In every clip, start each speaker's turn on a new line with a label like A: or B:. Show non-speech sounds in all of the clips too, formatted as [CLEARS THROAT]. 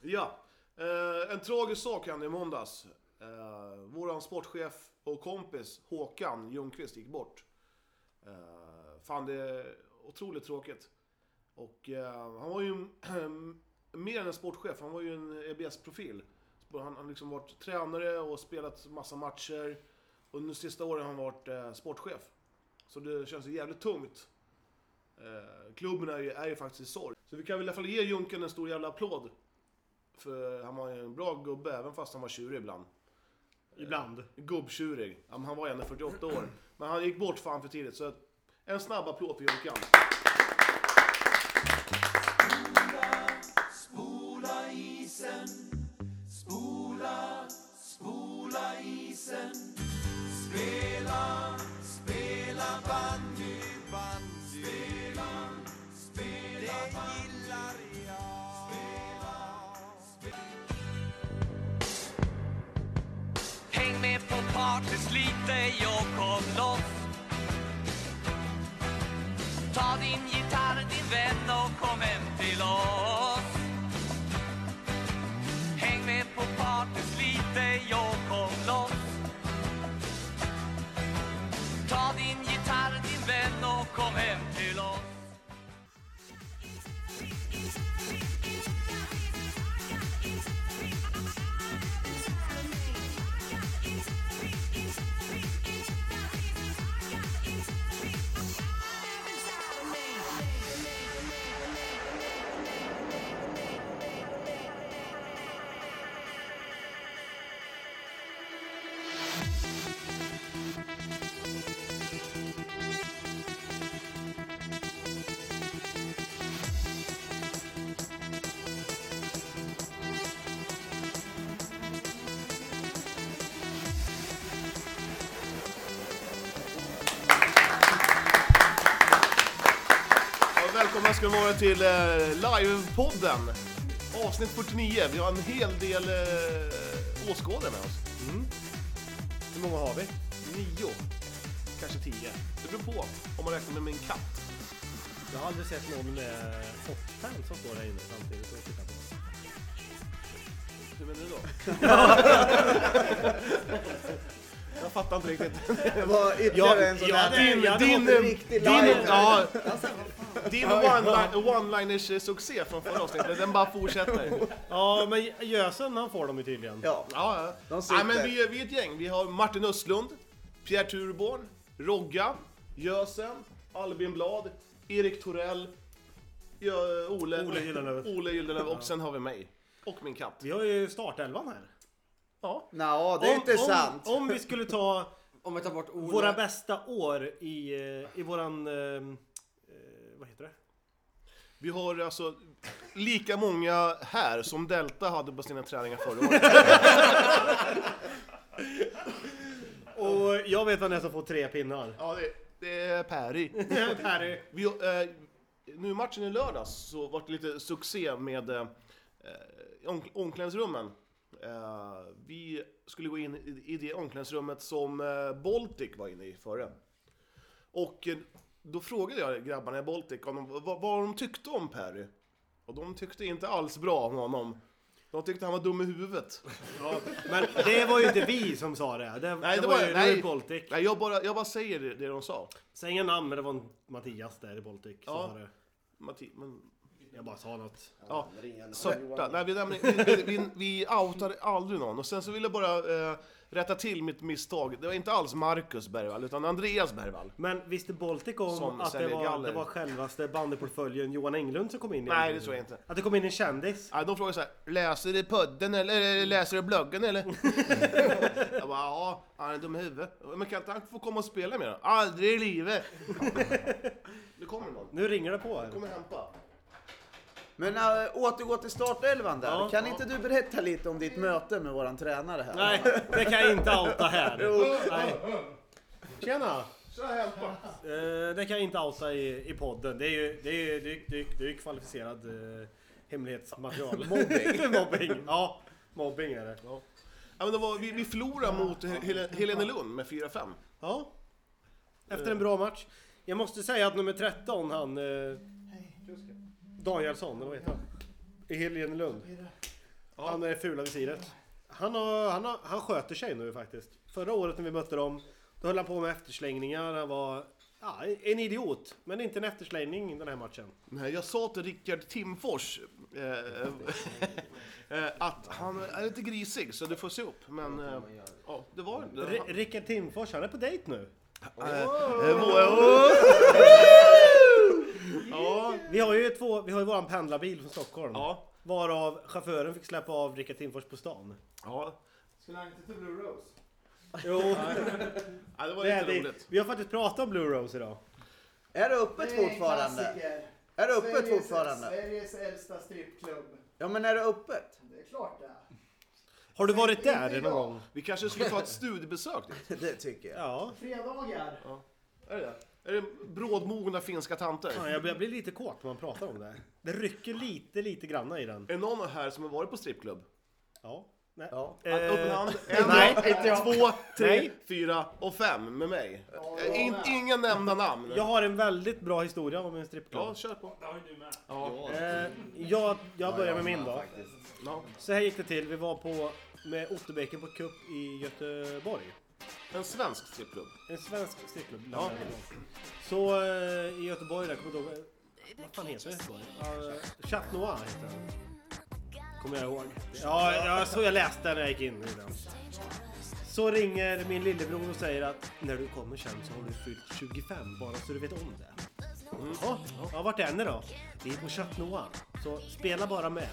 A: Ja, eh, en tragisk sak hände i måndags. Eh, våran sportchef och kompis Håkan Ljungqvist gick bort. Eh, fan, det är otroligt tråkigt. Och eh, han var ju [CLEARS THROAT] en- mer än en sportchef, han var ju en E EBS-profil. Han har liksom varit tränare och spelat massa matcher. Och nu sista åren har han varit eh, sportchef. Så det känns ju jävligt tungt. Eh, klubben är ju, är ju faktiskt i sorg. Så vi kan väl i alla fall ge Junken en stor jävla applåd. För han var ju en bra gubbe, även fast han var tjurig ibland. Eh,
B: Ibland.
A: Gubbtjurig. Ja, men han var ändå 48 år. Men han gick bort fan för tidigt, så att- en snabb applåd för Junkan.
C: Häng med på partys lite, jag kom loss Ta din gitarr, din vän och kom hem till oss Häng med på partys lite, jag kom loss Ta din gitarr, din vän och kom hem till oss
A: Ja, välkomna ska ni vara till eh, Livepodden. Avsnitt 49. Vi har en hel del eh, åskådare med oss.
B: Hur många har vi?
A: Nio, kanske tio. Det beror på om man räknar med min katt.
B: Jag har aldrig sett någon med hoppfans som står där inne samtidigt och tittar på oss.
A: Hur menar du då?
B: Jag fattar inte riktigt.
D: Det var ytterligare en sån där...
B: din-
D: jag hade
A: din-
D: fått en riktig
A: din-
D: live.
A: ja.
D: Alltså,
A: Din one-li- one-liners-succé från förra avsnittet, den bara fortsätter.
B: Ja, men Gösen han får dem ju tydligen.
D: ja.
A: Ja, ja.
D: De sitter.
A: Nej, men vi, är- vi är ett gäng. Vi har Martin Östlund, Pierre Turborn, Rogga, Gösen, Albin Blad, Erik Torell, Ö- Ole,
B: Ole Gyllenlöv.
A: Ole Gyllenlöv och sen har vi mig. Och min katt.
B: Vi har ju startelvan här.
A: Ja.
D: Nå, det är inte sant.
B: Om, om vi skulle ta
E: Om vi tar bort Ola.
B: våra bästa år i, eh, i våran... ehm, eh, vad heter det?
A: Vi har alltså lika många här som Delta hade på sina träningar förra året.
D: [LAUGHS]
B: Och jag vet vem det är som får tre pinnar.
A: Ja, det, det är Perry.
B: Perry.
A: Vi, eh, nu i matchen i lördags så var det lite succé med eh, omk- omklädningsrummen. Eh, vi skulle gå in i, i det omklädningsrummet som eh, Baltic var inne i förra. Och eh, då frågade jag grabbarna i Baltic om de, vad, vad de tyckte om Perry. Och de tyckte inte alls bra om honom. De tyckte han var dum i huvudet.
B: Men det var ju inte vi som sa det. Det,
A: Nej,
B: det, var, ju nej. Baltic.
A: Nej, jag bara, jag bara säger det, det de sa.
B: Säg inga namn, men det var en Mattias där i Baltic. som
A: Ja.
B: sa det.
A: Matti, men
B: Jag bara sa något.
A: Ja, sörta. Nej, vi, nämner- vi, vi, vi outar aldrig någon. Och sen så vill jag bara eh, rätta till mitt misstag. Det var inte alls Marcus Bergvall, utan Andreas Bergvall.
B: Men visste Baltic om
A: Som
B: att det
A: säljer
B: var,
A: galler.
B: det var självaste bandyportföljen Johan Englund som kom in? i
A: Nej,
B: den?
A: det tror jag inte.
B: Att det kom in en kändis?
A: Nej, de frågade så här, läser du pudden eller, eller läser du bloggen eller? jag bara, ja, han är dum i huvudet. Men kan inte han få komma och spela med då? Aldrig i livet! Nu kommer någon.
B: Nu ringer det på här.
A: kommer hämta.
D: Men äh, återgå till startelvan där.
B: Ja,
D: kan inte du berätta lite om ditt möte med våran tränare här?
B: Nej, det kan jag inte outa här. Nej. Tjena!
A: Tja, hämta!
B: Eh, det kan jag inte outa i, i podden. Det är ju, det är ju, det är, ju- det är, ju- det är ju kvalificerad eh, hemlighetsmaterial. mobbing! [LAUGHS] mobbing! Ja, mobbing är det. Ja.
A: Ja, men det var, vi, vi förlorade mot Hel- Helenelund med 4-5.
B: Ja. Efter en bra match. Jag måste säga att nummer 13, han... Eh, Danielsson, eller vad heter han? I Helenelund. Han är fula visiret. Han, har, han, har, han sköter sig nu faktiskt. Förra året när vi mötte dem, då höll han på med efterslängningar. Han var ja, en idiot, men inte en efterslängning den här matchen.
A: Nej, jag sa till Rickard Timfors eh, eh, att han är lite grisig, så du får se upp. Men eh, ja, det var det.
B: R- Rickard Timfors, han är på dejt nu.
A: Eh, vår- Ja,
B: Vi har ju, två, vi har ju våran pendlarbil från Stockholm.
A: ja,
B: Varav chauffören fick släppa av Rickard Timfors på stan.
A: ja.
E: Skulle han inte till Blue Rose?
B: Jo,
A: Ja, det var
B: det är
A: lite
B: det.
A: roligt.
B: Vi har faktiskt pratat om Blue Rose idag.
D: Är det öppet
E: Det är en
D: fortfarande?
E: klassiker.
D: Är det öppet
E: Sveriges-
D: fortfarande?
E: Sveriges äldsta strippklubb.
D: Ja men är det öppet? [LAUGHS]
E: Det är klart det.
B: Har du varit
E: Inte
B: där någon
E: idag.
B: gång?
A: Vi kanske skulle ta ett studiebesök dit.
D: Det tycker jag.
B: Ja.
E: Fredagar.
A: Är det det? Är det brådmogna finska tanter?
B: Fan, jag blir, jag blir lite kåt när man pratar om det. Det rycker lite, lite granna i den.
A: Är det någon här som har varit på strippklubb?
B: Ja. Nej.
D: Ja.
A: Att Upp en
B: Eh,
A: hand. En,
B: nej,
A: två, tre,
B: Nej.
A: fyra och fem med mig.
E: Ja,
A: Eh, In,
E: jag med.
A: ingen nämnda namn.
B: jag har en väldigt bra historia om en strippklubb.
A: Ja, kör på.
B: Eh, jag, jag börjar med min då.
A: Ja.
B: Så här gick det till. Vi var på med Otterbäcken på cup i Göteborg.
A: En svensk strippklubb.
B: En svensk strippklubb.
A: Ja.
B: Så eh, i Göteborg där, kommer jag inte ihåg. Vad fan heter det? Uh, Chat Noir heter den. Kommer jag ihåg. Ja, ja, så jag läste när jag gick in i den. Så ringer min lillebror och säger att när du kommer sen så har du fyllt 25, bara så du vet om det. Jaha, ja, vart är ni då? Vi är på Chat Noir, så spela bara med.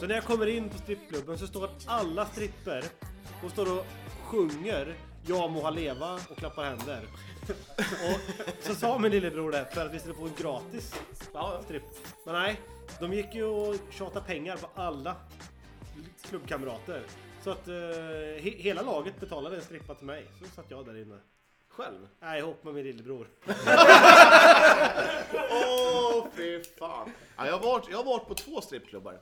B: Så när jag kommer in på strippklubben så står alla stripper och står och sjunger Jag må ha leva och klappar händer. Och så sa min lillebror det för att vi skulle få en gratis stripp. Men nej, de gick ju och tjatade pengar på alla klubbkamrater. Så att eh, he- hela laget betalade en strippa till mig. Så satt jag där inne.
A: Själv?
B: Nej, ihop med min lillebror.
A: Åh, fy fan. Ja, jag, har varit, jag har varit på två strippklubbar.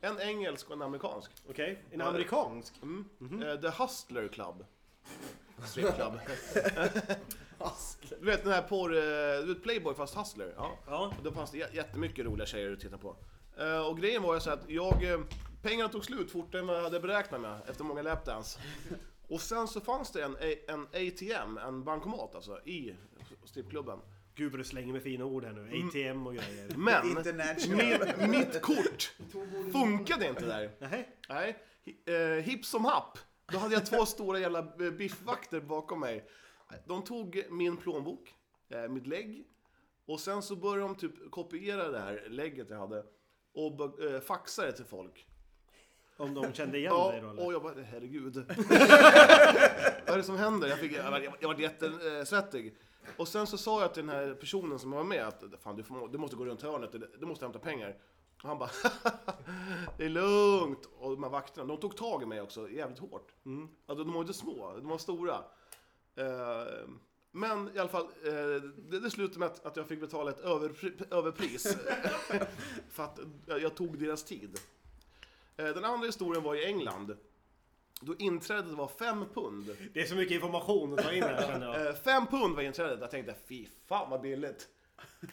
A: En engelsk och en amerikansk.
B: Okej, en amerikansk.
A: Mm. Eh, The Hustler Club. Strippklubb. du vet den här porr... eh, Du vet Playboy fast Hustler? Ja.
B: Ja.
A: Och Då fanns det jä- jättemycket roliga tjejer att titta på. Eh, Och grejen var ju så att jag... eh, Pengarna tog slut fortare än vad jag hade beräknat mig efter många lapdance. Och sen så fanns det en, A- en ATM, en bankomat alltså, i strippklubben.
B: Gud vad du slänger med fina ord här nu. ATM och grejer.
A: Men
D: International.
A: mitt, mitt kort funkade inte där.
B: Nej.
A: Nej, hi- eh, hipp som happ. Då hade jag två stora jävla eh, biffvakter bakom mig. De tog min plånbok, eh, mitt lägg och sen så började de typ kopiera det här lägget jag hade och bu- eh, faxa det till folk.
B: Om de kände igen
A: Ja,
B: dig då eller?
A: och jag bara
B: [LAUGHS]
A: herregud. Vad är det som händer? Jag, fick, jag, var- jag, var- jag var jättesvettig. Och sen så sa jag till den här personen som var med att Fan, du, får, du måste gå runt hörnet, du- du måste hämta pengar. Och han bara [LAUGHS] Det är lugnt! Och de här vakterna, de tog tag i mig också jävligt hårt. Alltså, de var inte små, de var stora. Eh, men i alla fall, eh, det, det slutade med att, att jag fick betala ett överpri- överpris. [LAUGHS] för att jag, jag tog deras tid. Eh, Den andra historien var i England. Då inträdet var 5 pund.
B: Det är så mycket information att ta in här känner jag.
A: Eh, 5 pund var inträdet. Jag tänkte, fy fan vad billigt.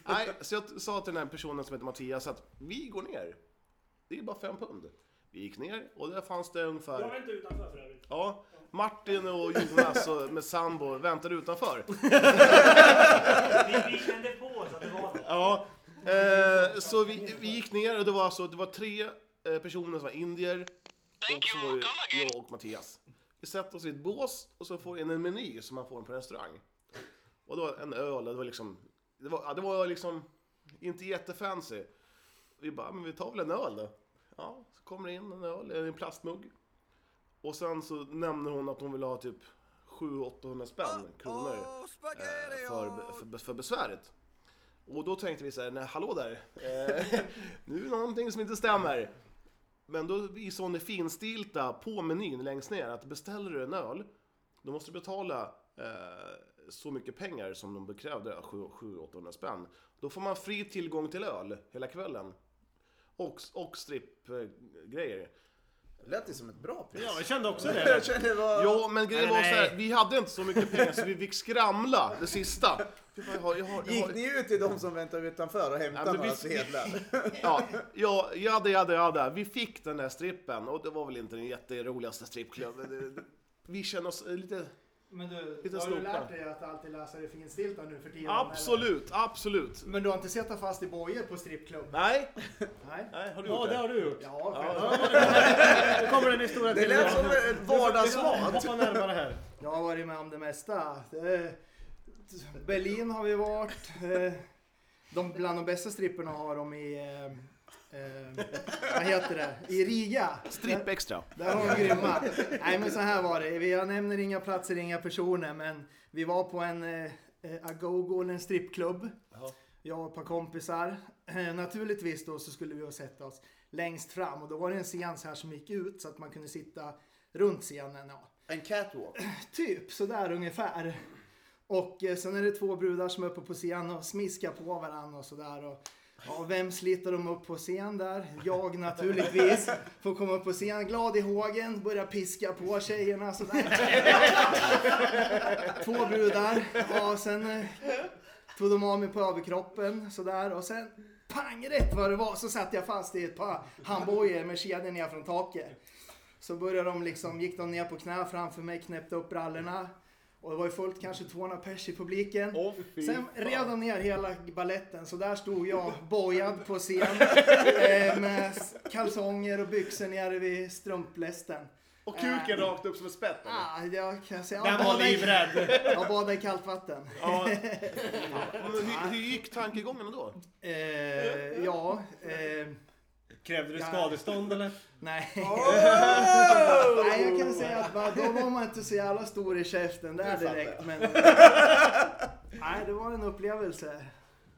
A: Nej, så jag t- sa till den här personen som heter Mattias att vi går ner. Det är bara 5 pund. Vi gick ner och där fanns det ungefär...
F: inte utanför för övrigt.
A: Ja, Martin och Jonas och med sambo väntade utanför.
F: Vi, vi kände på oss att det var det.
A: Ja, eh, så vi, vi gick ner och det var alltså, det var tre eh, personer som var indier och så var det jag och Mattias. Vi sätter oss i ett bås och så får vi in en meny som man får på restaurang. Och det var en öl och det var liksom, det var, ja, det var liksom inte jättefancy. Vi bara, men vi tar väl en öl då. Ja, så kommer det in en öl i en plastmugg. Och sen så nämner hon att hon vill ha typ 700-800 spänn kronor eh, för, för, för besväret. Och då tänkte vi så här, nej hallå där, eh, [LAUGHS] nu är det någonting som inte stämmer. Men då visade hon det finstilta på menyn längst ner att beställer du en öl, då måste du betala eh, så mycket pengar som de krävde, 700-800 spänn. Då får man fri tillgång till öl hela kvällen. Och, och strippgrejer.
D: Det lät ju som ett bra pris.
B: Ja, jag kände också det.
D: Jag kände det var...
A: Jo, men grejen var
B: Nej.
A: så här, vi hade inte så mycket pengar så vi fick skramla det sista. Jag har, jag har, jag har,
D: Gick ni ut till de som väntar utanför och
A: Ja,
D: hämtade
A: men
D: några
A: visst-
D: sedlar?
A: Ja, ja, jada, jada, jada. Vi fick den där strippen och det var väl inte den jätteroligaste strippklubben. Det- Vi känner oss lite...
E: Men du,
A: Lite
E: har du
A: snoka.
E: lärt dig att alltid läsa det finstilta nu för tiden? eller?
A: Absolut, absolut.
E: Men du har inte sett dig fast i bojor på strippklubb?
A: Nej,
E: Nej.
A: nej har du
B: Ja,
A: gjort
B: det
A: det?
B: har du gjort.
E: Ja, själv.
B: Nu kommer den historien
D: Det
B: till.
D: lät som ett vardagsmat.
B: Hoppa närmare här.
E: Jag har varit med om det mesta. Eh, Berlin har vi varit. Eh, De, bland de bästa stripperna har de i... Eh, eh, vad heter det? I Riga.
A: Stripp extra.
E: Där har de grymma. Nej men så här var det. Jag nämner inga platser, inga personer. Men vi var på en eh, eh, agogo eller en strippklubb. Jag och ett par kompisar. Eh, Naturligtvis då så skulle vi ha sett oss längst fram. Och då var det en scen så här som gick ut så att man kunde sitta runt scenen. Ja.
D: En catwalk.
E: Typ sådär ungefär. Och eh, sen är det två brudar som är uppe på scen och smiskar på varandra och sådär. Och, ja, vem sliter de upp på scen där? Jag naturligtvis. Får komma upp på scen glad i hågen, börja piska på tjejerna sådär. Två brudar. Ja, sen eh, tog de av mig på överkroppen sådär och sen pang rätt vad det var så satt jag fast i ett par handbojor med kedjor ner från taket. Så började de liksom, gick de ner på knä framför mig, knäppte upp brallorna. Och det var ju fullt, kanske 200 pers i publiken. Sen rev de ner hela balletten så där stod jag bojad på scen. eh, med s- kalsonger och byxor nere vid strumplästen.
A: Och kuken
E: Äh.
A: rakt upp som ett spett. eller?
E: Ah, jag kan säga,
B: Den
E: jag
B: var
E: badade i-
B: livrädd.
E: Jag badade i kallt vatten.
A: Ja. Men hur, hur gick tankegången då?
E: Eh, ja, eh,
B: Krävde du skadestånd eller?
E: nej. nej, jag kan säga att va, då var man inte så jävla stor i käften där direkt. Men, nej, det var en upplevelse.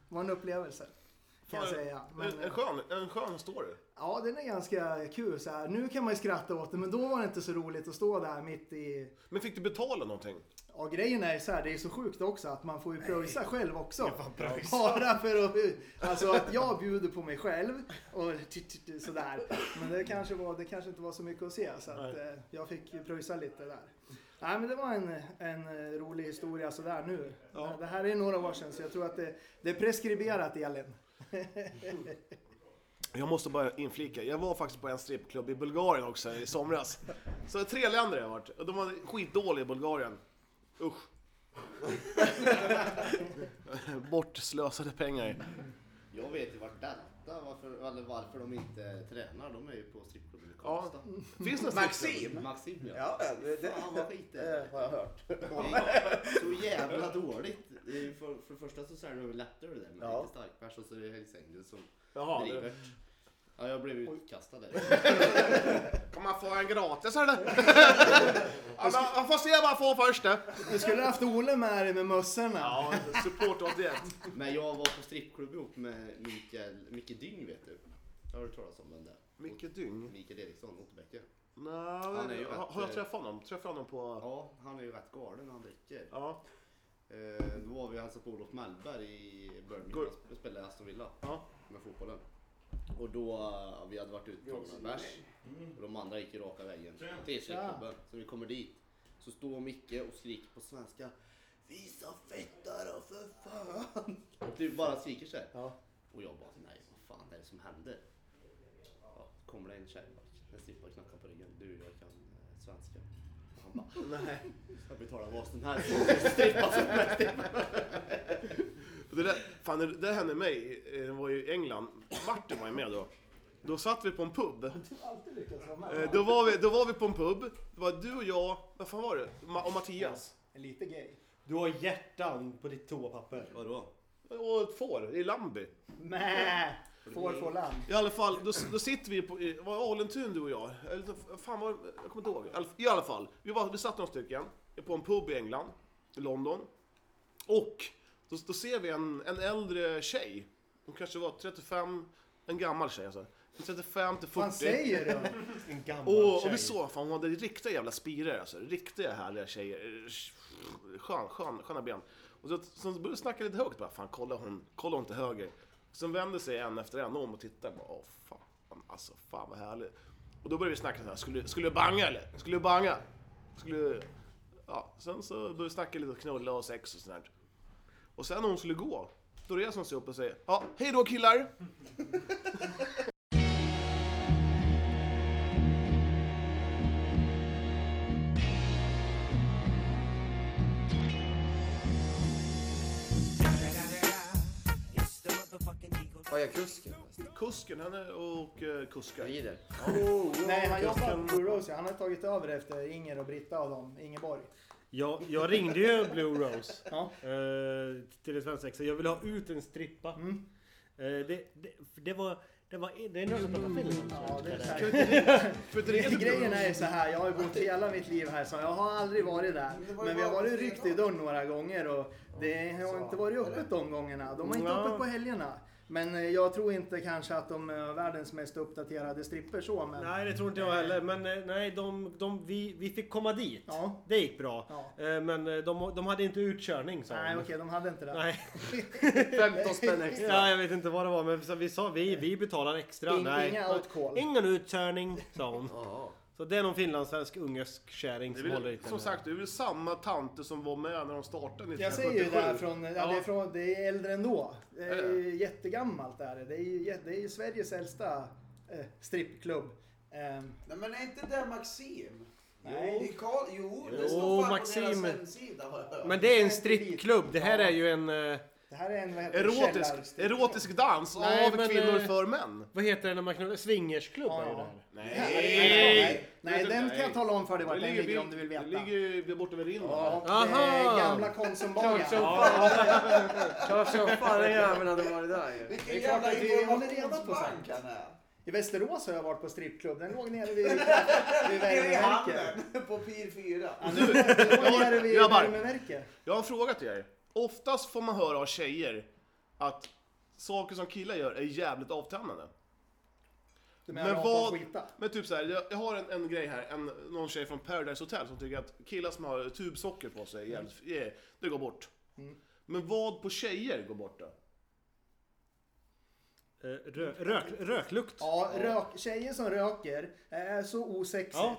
E: Det var en upplevelse. Kan jag
A: Fan,
E: säga.
A: En,
E: Men,
A: en, skön, en skön story.
E: ja, den är ganska kul så här. Nu kan man ju skratta åt det, men då var det inte så roligt att stå där mitt i...
A: Men fick du betala någonting?
E: Ja, grejen är ju så här, det är så sjukt också att man får ju pröjsa själv också. Bara för att... Alltså att jag bjuder på mig själv och t- t- t- sådär. Men det kanske, var, det kanske inte var så mycket att se så att eh, jag fick ju pröjsa lite där. Nej men det var en, en eh, rolig historia sådär nu. Det här är några år sedan så jag tror att det, det är preskriberat Elin.
A: Jag måste bara inflika, jag var faktiskt på en strippklubb i Bulgarien också i somras. Så tre länder har jag varit, och de var skitdåliga i Bulgarien. [LAUGHS] Usch. Bortslösade pengar.
G: Jag vet ju vart detta, varför, eller varför de inte tränar. De är ju på strippklubben i
A: Ja.
G: Karlstad.
A: Finns det en
D: Maxim?
G: Maxim ja.
D: Ja, det, det
G: Fan vad skit det är.
D: [LAUGHS] eh, har jag hört. [LAUGHS]
G: Så jävla dåligt. Det är ju för, för det första så säljer de lättöl där med
D: Ja.
G: lite starkbärs och så är det Hells Angels som
A: Jaha,
G: driver.
A: det-
G: Ja, jag blev utkastad där.
A: kan man få en gratis eller? ja, man, man får se vad man får först. eh.
E: Du skulle haft Ole med dig med mössorna.
A: Ja, support 81.
G: Men jag var på strippklubb ihop med Mikael, Micke Dyng vet du. Har du talat om den där?
A: Micke Dyng?
G: Mikael Eriksson, Otterbäcke.
A: Nej,
G: är ju
A: har,
G: rätt,
A: har jag
G: eh,
A: träffat honom? Träffade honom på...
G: Ja, han är ju rätt galen när han dricker.
A: Ja.
G: Eh, då var vi och hälsade på Olof Mellberg i Birmingham
A: Går-
G: och spelade i Aston Villa
A: Ja.
G: med fotbollen. Och då, eh, vi hade varit ute och tagit några bärs och de andra gick ju raka vägen till strippklubben. Så vi kommer dit, så står Micke och skriker på svenska Visa fetta då för fan! Du bara skriker så här. Och jag bara, nej vad fan är det som händer? Ja, kommer det en tjej, bara, en strippa knackar på ryggen. Du, jag kan eh, svenska. Och han bara,
A: Nej.
G: jag betalar vad som
A: [LAUGHS]
G: helst. Strippa som helst.
A: Det där, fan, det, det där hände mig, eh, det var ju i England, Martin var ju med då. Då satt vi på en pub. Eh, Då var vi, då var vi på en pub, det var du och jag, vad fan var det? Ma- och Mattias.
E: Lite gay.
B: Du har hjärtan på ditt toapapper.
G: Vadå?
A: Och ett får i Lambi.
E: Mä! Får, får, land.
A: I alla fall, då, då sitter vi på, i- var det Alentun du och jag? Eller så- fan var det- jag kommer inte ihåg. I alla- I alla fall, vi, var, vi satt några stycken på en pub i England, i London. Och då, då ser vi en, en äldre tjej, hon kanske var 35, en gammal tjej alltså. 35 till 40.
E: Vad säger du?
B: En gammal
A: Och, och
B: tjej.
A: vi såg, fan hon hade riktiga jävla spirer alltså. Riktiga härliga tjejer. Skön, skön, sköna ben. Och så, så började vi snacka lite högt bara, fan kolla hon, kolla hon till höger. Sen vände sig en efter en om och tittade bara, åh fan, alltså fan vad härligt. Och då började vi snacka så här, skulle, skulle du banga eller? Skulle du banga? Skulle du... Ja, sen så började vi snacka lite knulla och sex och sånt där. Och sen när hon skulle gå, då reser hon sig upp och säger ja, hej då killar!
D: Vad är kusken?
A: Kusken, han är och eh, kuskar.
G: Rider.
E: Nej, han jobbar på Blue Rose. ja. Han har tagit över efter Inger och Britta och dem. Ingeborg.
B: Jag, jag ringde ju Blue Rose.
E: Ja.
B: Eh, till det svensexa. Jag vill ha ut en strippa.
E: Mm.
B: Eh, det, det, för det var... Det var... Det är något att prata film om.
E: Ja, det är så här.
A: För att det
E: Gre-
A: heter
E: [LAUGHS]
A: Blue
E: Grejen
A: Rose.
E: är ju så här, jag har ju bott hela mitt liv här så jag har aldrig varit där. Men vi har varit ryckt i dörren några gånger och det har inte varit öppet de gångerna. De har inte
B: Ja.
E: öppet på helgerna. Men eh, jag tror inte kanske att de är världens mest uppdaterade stripper så men...
B: Nej, det tror inte jag heller. Men eh, nej, de, de, vi, vi fick komma dit.
E: Ja.
B: Det gick bra.
E: Ja.
B: Eh, Men eh, de, de hade inte utkörning sa
E: Nej
B: de.
E: okej, de hade inte det.
B: Nej.
D: 15 spänn extra.
B: Ja, jag vet inte vad det var men så vi sa vi, vi betalar extra.
E: In-
B: nej.
E: inga alkohol.
B: Ingen utkörning sa hon.
G: Ja.
B: Så det är någon finlandssvensk ungersk kärring
A: Det
B: som
A: är
B: håller i
A: väl,
B: den
A: som
B: här.
A: sagt, det är väl samma tante som var med när de startade 1977.
E: Jag säger ju det här från, ja,
A: Typ Ja.
E: Det, är från, det är äldre än då. Det är
A: Ja, ja.
E: ju jättegammalt är det. Det är ju, jä- det är ju Sveriges äldsta eh, strippklubb. Ehm,
H: Nej men är inte det Maxim?
E: Nej.
H: Jo, det är Karl... jo,
B: Jo,
H: det står fan
B: Maxim.
H: på deras hemsida har jag hört.
B: Men det är en strippklubb. Det här är ju en... eh,
E: det här är en vad heter det,
A: Erotisk,
E: källarstripp-
A: erotisk dans
B: Nej,
A: av
B: men,
A: kvinnor
B: eh,
A: för män.
B: Vad heter det när man knullar? Swingersklubb är ju det här.
E: Nej, nej,
A: Det-
E: den kan jag tala om för dig vart
A: Det
E: den
A: ligger,
E: ligger om du vill veta.
A: Det ligger ju borta vid Rimma.
E: Det är
B: Aha!
E: gamla Konsumbaren.
D: Klart som fan den jäveln hade varit där ju.
E: Det är
H: Vilken
E: klart
H: jävla
E: att vi håller reda på
H: informationsbank
E: sånt.
H: han är.
E: I Västerås har jag varit på strippklubb. Den
H: [LAUGHS]
E: låg nere vid, vid
H: Det är i
E: värmeverket.
H: handen på Pir 4.
E: Ja,
A: [LAUGHS]
E: nu- Den låg nere vid
A: Grabbar.
E: värmeverket.
A: Jag har en fråga till er. Oftast får man höra av tjejer att saker som killar gör är jävligt avtändande.
E: Du menar
A: Men
E: rakt av
A: vad...
E: skita?
A: Men typ så här, jag, jag har en, en grej här, en, någon tjej från Paradise Hotel som tycker att killar som har tubsocker på sig, är jävligt, eh, det går bort.
E: Mm.
A: Men vad på tjejer går bort då?
B: Eh, Rök, rök, röklukt.
E: Ja, rök, tjejer som röker är så osexigt.
B: Ja.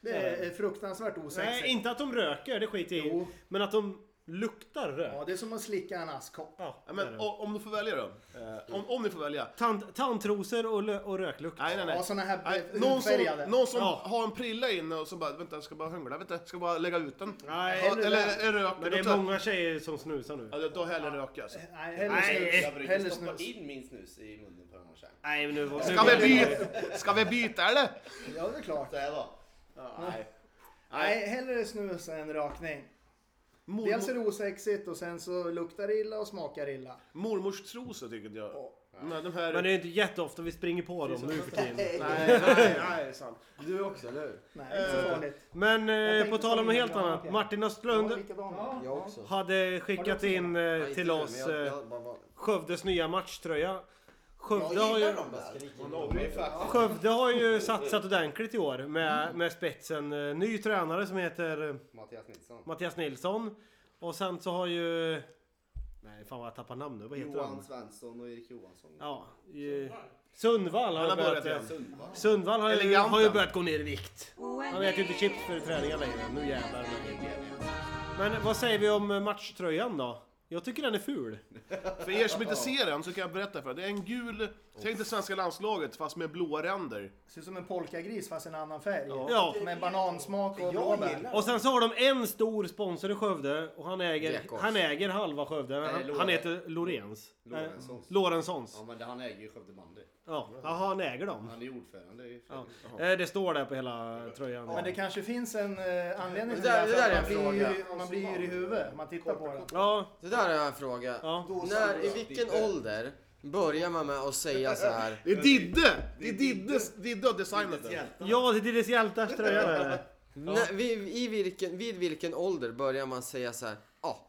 E: Det är fruktansvärt osexigt.
B: Nej, inte att de röker, det skiter jag i.
E: Jo.
B: Men att de luktar rök.
E: Ja, det är som att slicka en askkopp.
B: Ja,
A: Ja,
B: det är
A: men,
B: det.
A: o- om du får välja då? Eh, om, om ni får välja?
B: Tant, tandtrosor och, lö- och röklukt.
A: Nej, nej, nej.
E: Ja, såna här
A: Nej,
E: eh,
A: någon som,
E: hudfärgade.
A: någon som
B: Ja.
A: har en prilla inne och så bara, vänta jag ska bara hångla, vänta jag ska bara lägga ut den.
B: Nej,
A: Ja,
B: eller-
A: eller är det
B: Men det
A: röker.
B: är
A: Många...
B: många tjejer som snusar nu.
A: Ja, då hellre röka alltså.
E: Nej, hellre
B: Nej.
E: snus.
G: Jag brukar
E: Hellre
G: stoppa
E: snus.
G: in min snus i munnen på den här tjejen.
B: Nej, men nu var
A: Ska vi byta, ska vi byta eller?
E: Ja, det är klart.
G: Så här var.
E: Nej, hellre snus än rökning. Dels är det osexigt och sen så luktar det illa och smakar illa.
A: Mormors trosor tycker inte jag. Nej, de här...
B: Men det är ju inte jätteofta vi springer på dem nu för tiden.
D: Nej, nej, nej, det är sant. Du också, eller hur?
E: Nej, inte så farligt.
B: Men eh,
E: tänkte
B: på tal om något
E: på
B: helt
E: mina
B: annat.
E: lampor.
B: Martin
E: Ja,
B: Östlund
E: likadana.
D: Jag också.
B: hade skickat in eh,
D: Nej, inte
B: till
D: du,
B: oss
D: men jag-
B: eh,
D: jag bara var-
B: Skövdes nya matchtröja.
H: Jag
B: Skövde har ju...
H: gillar dem där.
B: Skövde har ju satsat ordentligt i år med, med spetsen. Eh, Ny tränare som heter eh,
G: Mattias Nilsson.
B: Mattias Nilsson. Och sen så har ju... Nej fan vad jag tappar namn nu. Vad heter
G: Johan
B: han?
G: Svensson och Erik Johansson.
B: Ja. eh, Sundvall har,
A: Han har
B: ju börjat...
A: börjat igen.
G: Sundvall.
B: Sundvall har ju,
A: Eleganten.
B: har ju börjat gå ner i vikt. Han äter ju inte chips för träningar längre. Nu jävlar. Men vad säger vi om eh, matchtröjan då? Jag tycker den är ful.
A: För er som inte ser den så kan jag berätta för er. Det är en gul, tänk dig svenska landslaget fast med blåa ränder.
E: Ser ut som en polkagris fast en annan färg.
B: Ja.
E: Med banansmak och
H: Jag
E: blåbär.
H: gillar
B: Och sen så har de en stor sponsor i Skövde och han äger,
D: Lekås.
B: han äger halva Skövde.
G: Nej,
B: Han,
G: Loren-
B: han heter Lorens.
G: Lorentzons.
B: Eh, Lorentzons.
G: Ja men det- han äger ju Skövde bandy.
B: Ja, Jaha, han äger dem.
G: Han är ju ordförande i
B: Ja.
G: föreningen.
B: Eh, Det står där på hela tröjan.
E: Men det kanske finns en eh, anledning till
D: Det
E: det där.
D: där- det
E: för
D: där
E: att
D: är en
E: man, blir ju,
D: fråga.
E: man blir ju i huvudet. Man tittar på den.
B: Ja,
D: Det där är en fråga.
B: ja.
D: När, I vilken ålder börjar man med att säga så här?
A: Det är Didde! Det är Didde, Didde har designat den.
B: Ja, det är Diddes hjältars tröja är det.
D: När, vid, i vilken, vid vilken ålder börjar man säga så här? Ja, ah,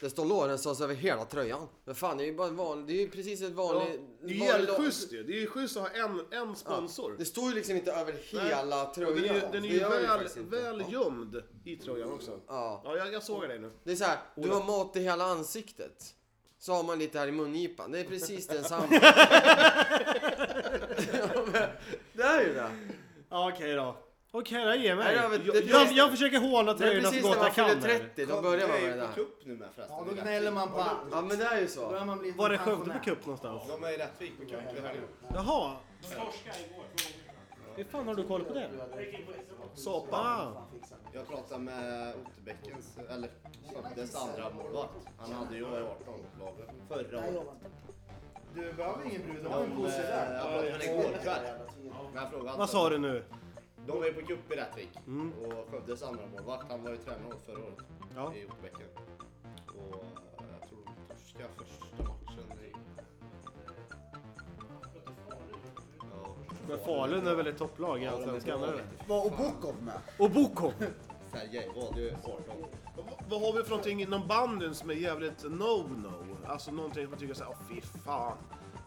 D: det står Lorentzons över hela tröjan. Men fan, det är ju bara en vanlig, det är ju precis ett
A: Ja,
D: vanligt...
A: Det är ju
D: vanlig-
A: jävligt schysst ju. Det är ju schysst att ha en, en sponsor.
D: Det står ju liksom inte över hela
A: Den är
D: tröjan.
A: ju, den är ju
D: Det gör det
A: väl,
D: faktiskt inte.
A: väl
D: Ja.
A: gömd i tröjan också.
D: Ja.
A: Ja, jag, jag såg dig nu.
D: Det är så här, du har mat i hela ansiktet. Så har man lite här i mungipan. Det är [LAUGHS]
A: [LAUGHS]
D: precis densamma. Ja, men det är ju det.
B: Ja, Okej då. Okej, då ger jag
D: Nej, det var
B: mig.
D: väl-
B: Jag,
D: det-
B: jag, jag försöker håna
D: Det är
B: tröjorna så
D: precis när
B: gott
D: man
B: jag kan.
D: fyller
B: här.
D: 30, då börjar man med
G: på
D: det där.
G: cup nu med förresten.
E: Ja, då gnäller man på allt.
D: Ja men det är ju
E: Då
D: så.
E: börjar man bli
B: Var är Skövde
E: pensionär.
B: på cup någonstans?
G: De är i Rättvik på cup i helgen.
B: Jaha. Hur fan har du koll på det? Sapa. Ah.
G: Jag pratade med Otterbäckens, eller dess andra målvakt. Han hade ju A18-laget förra året.
E: Du behöver ingen brud, du
G: De,
E: har en
G: eh,
E: påse där.
G: jag pratade med igår kväll. Jag frågade
B: Vad sa du nu?
G: De är på cup i Rättvik.
B: Mm.
G: Och Skövdes andra målvakt, han var ju tränare åt förra året
B: Ja.
G: i Otterbäcken. Och eh, jag tror de torskade första matchen i... Ja.
B: Men Falun är väl ett topplag i Allsvenskan? eller?
I: Var Obokov med?
B: Och Boko!
G: Sergej valde ju 18.
A: V- Vad har vi för någonting inom bandyn som är jävligt no-no? Alltså någonting som man tycker såhär, åh fy fan.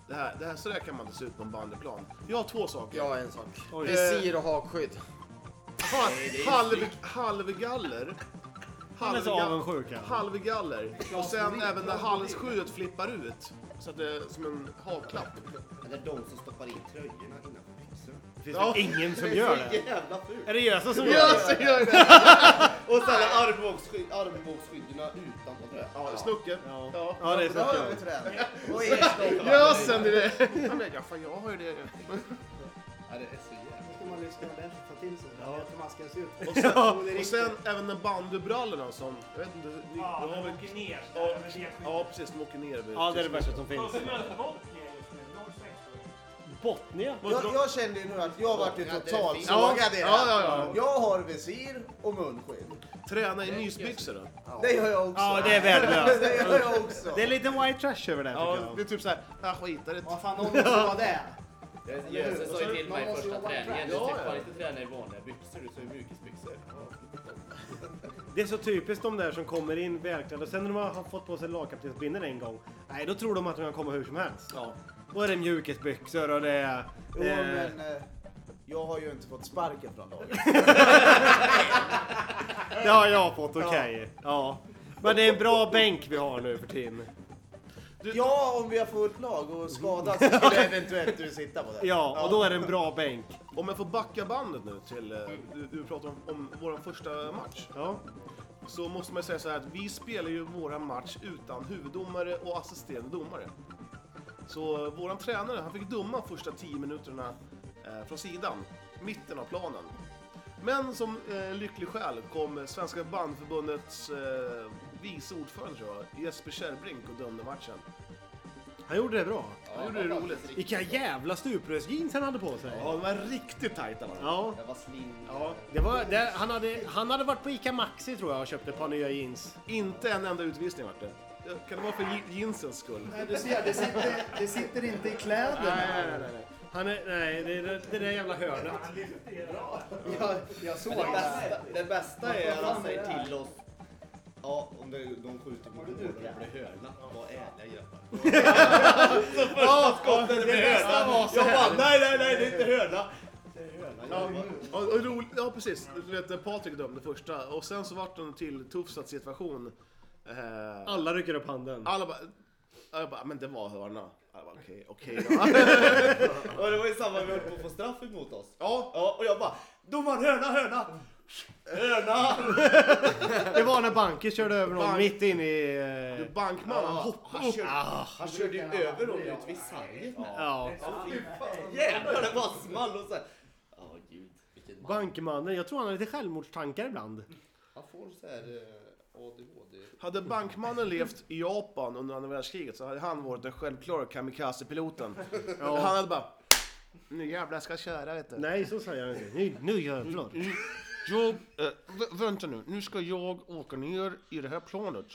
A: Det här, det här, så där kan man inte se ut på en bandyplan. Jag har två saker.
D: Ja en sak.
B: Oj.
D: Visir och hakskydd.
A: Fan, halv, halvgaller.
B: Han är så
A: Halvga-
B: avundsjuk. han.
A: Halvgaller. Och sen även när halsskyddet flippar ut. Så att det är som en hakklapp.
G: Eller de som stoppar in tröjorna innanför byxorna.
B: Det finns väl ingen som gör
G: Det är
B: det?
G: så jävla fult!
B: Är det Gösa som gör
A: Ja,
B: det?
A: så gör det!
G: Och sen är armbågssky- armbågsskydden utanpå tröjan.
A: Ja, Snucken.
B: Ja.
A: Ja.
B: Ja, det är
I: Då
B: så
I: har
B: kul.
I: vi tränat.
B: Eh.
A: Ja, sen är det... Han bara, ja fan jag har ju det.
G: Ja, det är så jävla...
E: Då man lyssnar ordentligt och tar till sig det. Det maskas ut.
A: Och sen,
B: Ja.
A: och sen även när bandybrallorna som... Jag vet inte, ni, ni
F: Ja,
A: har
F: de
A: väl...
F: åker ner.
A: Ja,
F: där, men det är skit.
A: Ja, precis. De åker ner. vid- typ-
B: Ja, det är det värsta som finns.
F: Sköter möter Botnia just nu. 06.
B: Botnia?
I: Jag, jag kände ju nu att jag vart ju
G: Ja, det är
I: totalt
G: fint.
I: sågad i det
A: Ja, ja,
I: här.
A: ja.
I: Jag har visir och munskydd.
A: Träna i mysbyxor då.
I: Det gör jag också.
B: Ja, det är värdelöst.
I: Det gör jag också.
B: Det är lite white trash över det här, "Ah, tycker
A: Ja,
B: jag.
A: det är typ såhär, jag skitar i det.
E: Vad fan, någon måste vara det.
G: Jösses sa ju till mig
E: Man måste
G: första
E: jobba
G: träningen, du
A: Ja,
G: ska
A: ja.
G: fan inte träna i vanliga byxor, du ska ha mjukisbyxor.
B: Det är så typiskt de där som kommer in välklädda och sen när de har fått på sig lagkaptensbindel en gång. Nej, då tror de att de kan komma hur som helst.
A: Ja.
B: Då är det mjukisbyxor och det är...
I: Jo,
B: Eh,
I: men eh, jag har ju inte fått sparken från laget.
B: det har jag fått, okej. Ja. Men det är en bra bänk vi har nu för tiden.
I: Ja, om vi har fullt lag och skadat så skulle eventuellt du sitta på det.
B: Ja, och då är det en bra bänk.
A: Om jag får backa bandet nu till, eh, du, du pratar om, om vår första match.
B: Ja.
A: Så måste man säga så här att vi spelar ju våran match utan huvuddomare och assisterande domare. Så eh, våran tränare, han fick döma första 10 minuterna eh, från sidan, mitten av planen. Men som eh, lycklig själ kom Svenska bandförbundets eh, vice ordförande tror jag, Jesper Kärrbrink och dömde matchen.
B: Han gjorde det bra.
A: Han gjorde det roligt.
B: Vilka jävla stuprörsjeans han hade på sig.
A: Ja, de var riktigt tajta var de.
B: Ja.
G: Jag var slim.
A: Ja.
B: Det var, det, han, hade, han hade varit på Ica Maxi tror jag och köpt ett par nya jeans.
A: Inte en enda utvisning vart det. Kan det vara för je- jeansens skull?
E: Nej, du ser, det sitter, det sitter inte i kläderna.
B: nej, nej. Han är, nej, det är det, det där jävla hörnet.
E: Jag, jag såg
G: Det
E: det.
G: bästa, det bästa är att han säger till oss Ja, om det, de skjuter på mål och det blir hörna. Var ärliga grabbar. [LAUGHS] Ja, skottet blir hörna. Jag bara, nej, nej, nej, det är inte hörna. Det är hörna.
A: Ja,
G: grabbar.
A: och, och roligt, ja precis, du vet när Patrik dömde första och sen så vart det en till tuffsat situation. Eh,
B: Alla rycker upp handen.
A: alla bara, ja, jag bara, men det var hörna. Jag bara, Okej, okej då.
G: Och det var ju samma, vi höll på att få straff emot oss.
A: Ja,
G: Ja, och jag bara, domaren hörna, hörna! Hörna!
B: Det var när Banke körde över någon
A: Bank-
B: mitt in i... eh,
A: du bankman, han hoppade upp.
G: Han körde ju över dem ut vid sargen.
B: Ja.
G: Jävlar, det bara small och så här. Ja, gud. Vilken man.
B: Bankmannen, jag tror han har lite självmordstankar ibland.
G: Han får så här eh, ADHD.
A: Hade bankmannen levt i Japan under andra världskriget så hade han varit den självklara kamikazepiloten. Han hade bara, nu jävlar ska jag köra vet du.
B: Nej, så säger han inte. Nu, nu jävlar.
A: Mm, Jag, eh, vä- vänta nu, nu ska jag åka ner i det här planet.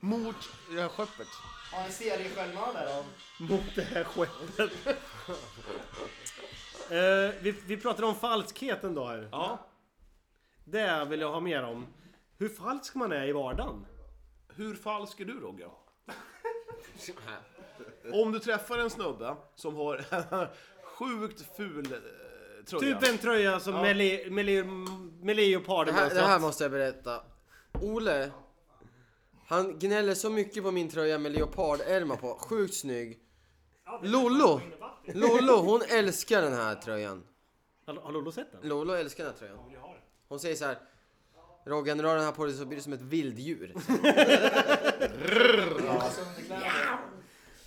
A: Mot det här skeppet.
E: Ja, en seriesjälvmördare.
B: Mot det här skeppet. Eh, vi, vi pratade om falskhet en dag här.
A: Ja.
B: Det vill jag ha mer om. Hur falsk man är i vardagen.
A: Hur falsk är du Rogge? [LAUGHS] Om du träffar en snubbe som har [LAUGHS] sjukt ful eh, tröja.
B: Typ en tröja som med, le, med, le, med
D: Det här, det
B: leopardmönstrat.
D: här måste jag berätta. Ole, han gnäller så mycket på min tröja med leopardärmar på. Sjukt snygg. Lollo! Lollo, hon älskar den här tröjan.
B: Har, har Lollo sett den?
D: Lolo älskar den här tröjan.
F: vill jag ha det?
D: Hon säger så här. Roggen, rör den här på dig så blir du som ett vilddjur.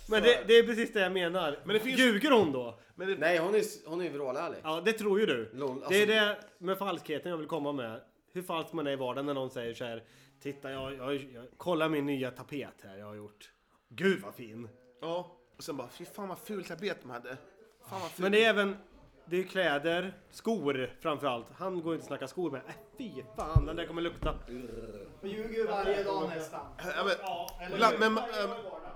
B: Men det, det är precis det jag menar. Men det finns... Ljuger hon då? Men det...
D: Nej, hon är, hon är ju vrålärlig.
B: Ja, det tror ju du.
D: Lol, alltså-
B: Det är det med falskheten jag vill komma med. Hur falsk man är i vardagen när någon säger så här. Titta, jag, jag, jag, kolla min nya tapet här jag har gjort. Gud vad fin!
A: Ja. Och sen bara, fy fan vad ful tapet de hade. Fan vad ful.
B: Men det är även, det är kläder, skor framförallt. Han går inte att snacka skor med. Äh, fy fan, den där kommer lukta.
F: Ehm,
E: Och ljuger varje dag nästan.
A: Ja, men, Bland, men äh,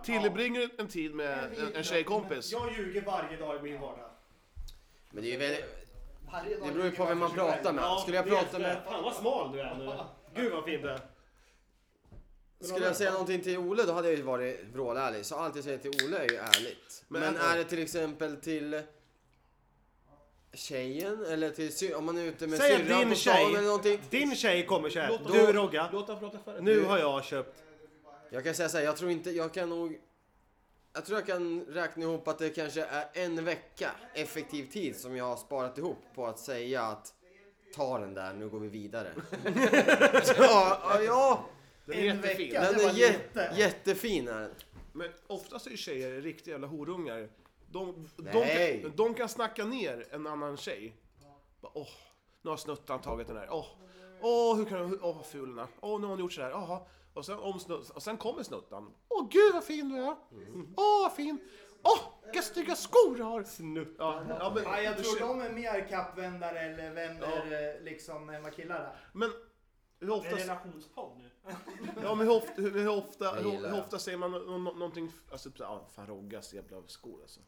A: tillbringar en tid med en, en tjejkompis.
B: Jag ljuger varje dag i min vardag.
D: Men det är ju väldigt...
E: Varje dag
D: Det beror ju på vem man pratar med. Skulle jag prata med...
B: Fan vad smal du är nu. Gud vad fin du är.
D: Skulle jag säga någonting till Ole då hade jag ju varit vrålärlig. Så allt jag säger till Ole är ju ärligt. Men, är det till exempel till tjejen eller till sy- om man är ute med
B: Säg att
D: syrran
B: din
D: på stan eller
B: tjej,
D: någonting.
B: din tjej kommer så här.
D: Låt
B: Du
D: dem-
B: Rogga,
A: Låt honom prata för
B: nu har jag köpt.
D: Jag kan säga så här, jag tror inte, jag kan nog... Jag tror jag kan räkna ihop att det kanske är en vecka effektiv tid som jag har sparat ihop på att säga att ta den där, nu går vi vidare. ja, ja, ja,
A: Den är jättefin.
E: vecka.
D: den
E: det var
D: är jä-
E: lite.
D: jättefin är den.
A: Men oftast är ju tjejer riktiga jävla horungar. De, de,
D: Nej.
A: kan, de kan snacka ner en annan tjej. Bara, Åh, nu har snuttan tagit den här. Åh, åh hur kan du... Åh, vad ful den är. Åh, nu har hon gjort sådär. Jaha. Och sen, om snu- och sen kommer snuttan. Åh, gud vad fin du är.
E: Mm.
A: Åh, vad fin. Åh, vilka snygga skor du har. Ja, ja, men,
E: Ja, jag tror de är mer kappvändare eller vänder eh, liksom än vad killar är.
A: men hur
F: Det är
A: ofta,
F: relationspodd nu.
A: ja, men hur ofta, hur ofta,
D: Jag gillar
A: hur
D: det.
A: ofta säger man nå- nå- någonting... Alltså, typ, så här, ah, fan Roggas jävla skor alltså.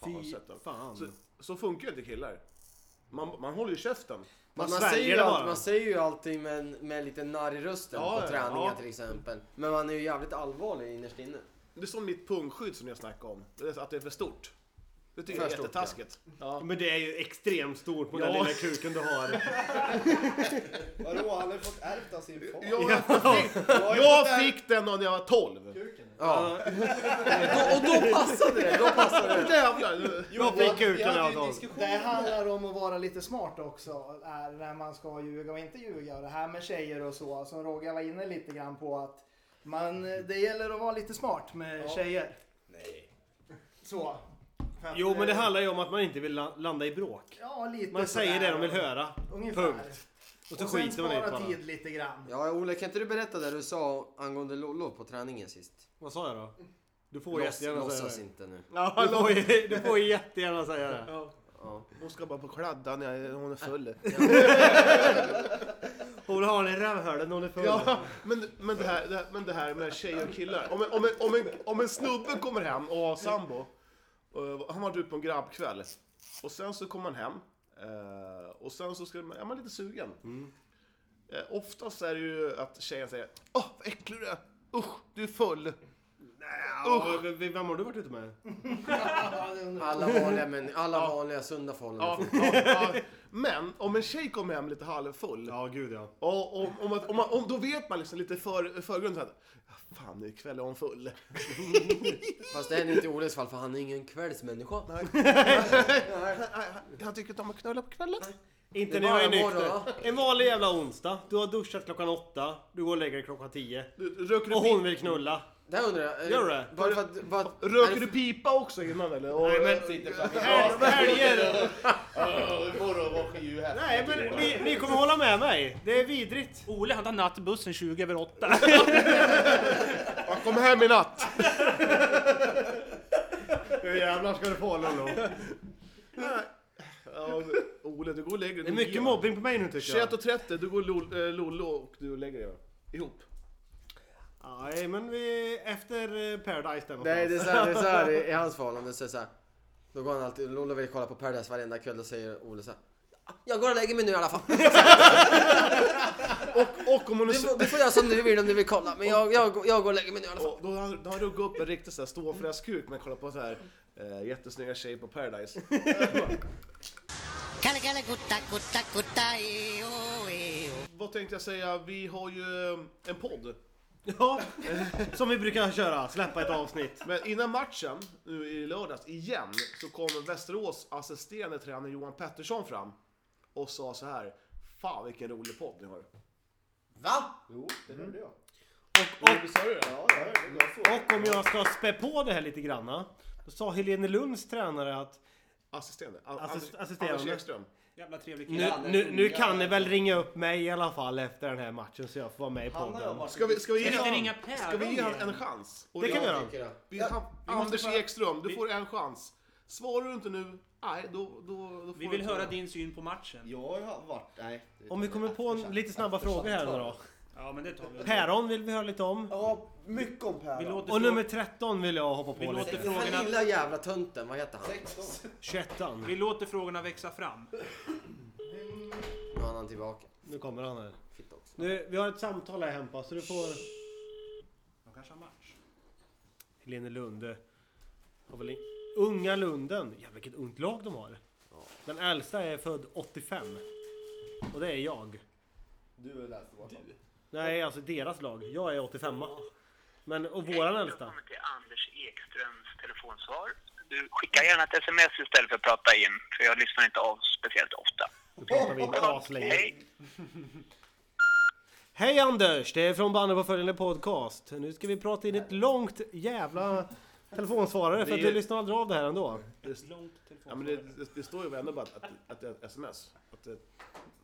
A: Fan, har du sett dem?
B: fan.
A: Så, så funkar ju inte killar. Man, man håller ju käften.
D: Man, man,
B: sväljer
D: säger ju
B: det
D: allt,
B: bara.
D: man säger ju allting med, med lite narr i rösten
A: Ja, ja,
D: på träningar
A: ja.
D: till exempel. Men man är ju jävligt allvarlig innerst inne.
A: Det är som mitt pungskydd som jag snackade om. Det är Att det är för stort. Det tycker
D: För
A: jag är
D: stort,
A: jättetaskigt. Ja.
B: Men det är ju extremt stort på den
A: Ja.
B: lilla kuken du har.
I: Vadå, han har ju fått ärvt av sin far.
A: Jag, jag fick den när jag var 12.
D: Ja.
A: [LAUGHS]
D: och, och då passade det! Då passade det.
A: Jävlar!
B: Jag fick kuken
I: hade
B: av
I: ju en
B: dem.
I: diskussion.
E: Det handlar om att vara lite smart också, är när man ska ljuga och inte ljuga. Och det här med tjejer och så, som Roger var inne lite grann på att man, det gäller att vara lite smart med tjejer.
I: Nej.
E: Så. För att,
B: Jo men det
E: eh,
B: handlar ju om att man inte vill la- landa i bråk.
E: Ja, lite
B: Man säger
E: sådär.
B: det de vill höra.
E: Ungefär.
B: Punkt. Och så
E: Och sen
B: skiter man i det
E: spara
B: bara.
E: tid lite grann.
D: Ja, Olle, kan inte du berätta det du sa angående Lollo på träningen sist?
B: Vad sa jag då? Du får
D: Låts,
B: jättegärna
D: låtsas
B: säga det.
D: inte nu.
B: Ja, du, får, ju- [LAUGHS] du får jättegärna säga det.
A: Hon ska bara på kladda när jag- hon är full.
B: Hon har en rövhåla när hon är full.
A: Ja, men, men, det här, det här, men det här med tjejer och killar. Om en, om en, om en, om en snubbe kommer hem och har sambo. och Han var ute på en grabbkväll. Och sen så kommer han hem. eh, Och sen så ska man, är man lite sugen. Eh, Oftast är det ju att tjejen säger Åh, vad äcklig du är! Usch, du är full!
B: Ja, v- v- Vem har du varit ute med?
D: Alla vanliga, men alla vanliga sunda
A: Ja,
D: förhållanden.
A: ja, ja. Men om en tjej kommer hem lite halvfull.
B: Ja, gud ja.
A: Och om, om, att- om, man- om, då vet man liksom lite för, förgrund så här. Fan, ikväll är hon full.
D: Fast det är inte i Oles fall, för han är ingen kvällsmänniska.
A: Ah, Han tycker inte om att knulla på kvällen.
B: Inte
D: Det
B: när
D: är
B: jag är
D: bara morgon,
B: nykter. En vanlig jävla onsdag. Du har duschat klockan åtta. Du går och lägger dig klockan tio.
A: Du- Röker du
B: Och
A: pip-
B: hon vill knulla.
D: Det här undrar jag. eh,
B: Gör det?
D: Bara för att... Bara, att-
A: Röker du pipa också innan eller? Och,
B: Nej, men-
G: Sitter framför
B: Hel-
G: glaset.
B: Helger!
G: Åh, Imorgon var ju här.
B: Nej men ni, ni kommer hålla med mig. Det är vidrigt.
F: Ole han tar nattbussen 20 över 8.
A: Jag kommer hem i natt.
B: [LAUGHS] Hur jävlar ska du få Lollo?
A: Ja, Ole, du går och lägger dig.
B: Det är mycket mobbing på mig nu tycker jag.
A: 21.30, du går Lol- eh, Lollo och du lägger dig va? ihop.
B: Nej men vi... Efter eh, Paradise där
D: Nej,
B: någonstans.
D: det är såhär, det är såhär i, i hans förhållande så är det såhär. Då går han alltid, Lollo vill kolla på Paradise varenda kväll, då säger Ole såhär. Jag går och lägger mig nu i alla fall.
A: Och om hon är
D: Du får, du får göra som du vill om du vill kolla, men jag, jag, jag går och lägger mig nu i alla fall.
A: Och då har han- då har han ruggat upp en riktig så här ståfräskuk när jag kollar på så här eh, jättesnygga tjejer på Paradise.
J: [LAUGHS] Kalle, kalle, gutta, gutta, gutta, e, o, e, o.
A: Vad tänkte jag säga? Vi har ju eh, en podd
B: Ja, [LAUGHS] som vi brukar köra. Släppa ett avsnitt.
A: Men innan matchen, nu i lördags, igen, så kom Västerås assisterande tränare Johan Pettersson fram och sa så här. Fan vilken rolig podd ni har.
I: Va? Jo, det hörde jag.
B: Och, och,
A: Sa du det?
I: Ja, jag hörde det. Jag såg det.
B: och om jag ska spä på det här lite granna. Då sa Helene Lunds tränare att
A: Assisterande? A-
B: Assist-
A: Anders-
B: assisterande.
A: Anders Ekström.
F: Jävla trevlig kille.
B: nu, nu, nu kan ni väl ringa upp mig i alla fall efter den här matchen så jag får vara med i
I: Han har jag
B: podden.
I: varit...
A: Ska vi, ska vi ge
F: Ska vi inte
A: honom
F: ringa Per?
A: ska vi ge han en chans? Och
B: Det kan vi
A: jag-
B: göra.
D: Tycker jag.
A: vi- han- Anders
F: bara-
A: Ekström, du
F: vi-
A: får en chans. Svarar du inte nu, nej då, då, då får
F: Vi
A: du
F: vill
A: inte
F: höra
A: vara-
F: din syn på matchen.
G: Jag har varit... Nej. det-
B: Om vi kommer på en, lite snabba frågor här nu då.
F: Ja, men det tar vi.
B: Päron vill vi höra lite om.
I: Ja, mycket om Per.
F: Vi
I: då.
F: låter
B: Och nummer
F: frå-
B: 13 vill jag hoppa
F: Vi
B: på
F: låter
B: lite.
D: Den här
F: frågorna...
D: lilla jävla tönten, vad heter han?
I: 16.
B: 21
F: Vi låter frågorna växa fram.
D: Nu är han tillbaka.
B: Nu kommer han här.
D: Fitta också.
B: Nu, vi har ett samtal här Hempa så du får...
F: De kanske har match.
B: Helene Lunde. Har väl in... Unga Lunden. Jävlar vilket ungt lag de har. Den äldsta är född 85. Och det är jag.
G: Du är läst vad Du.
B: Nej, alltså deras lag. Jag är 85 Men och våran äldsta.
J: till Anders Ekströms telefonsvar. Du skickar gärna ett sms istället för att prata in, för jag lyssnar inte av speciellt ofta.
B: Nu pratar vi inte aslänge.
J: Hej!
B: Hej Anders! Det är från Banne på följande podcast. Nu ska vi prata in ett långt jävla telefonsvarare för att du lyssnar aldrig av det här ändå.
A: Ja, men det, det, det står ju ändå bara att, att, att det är ett sms. Att det,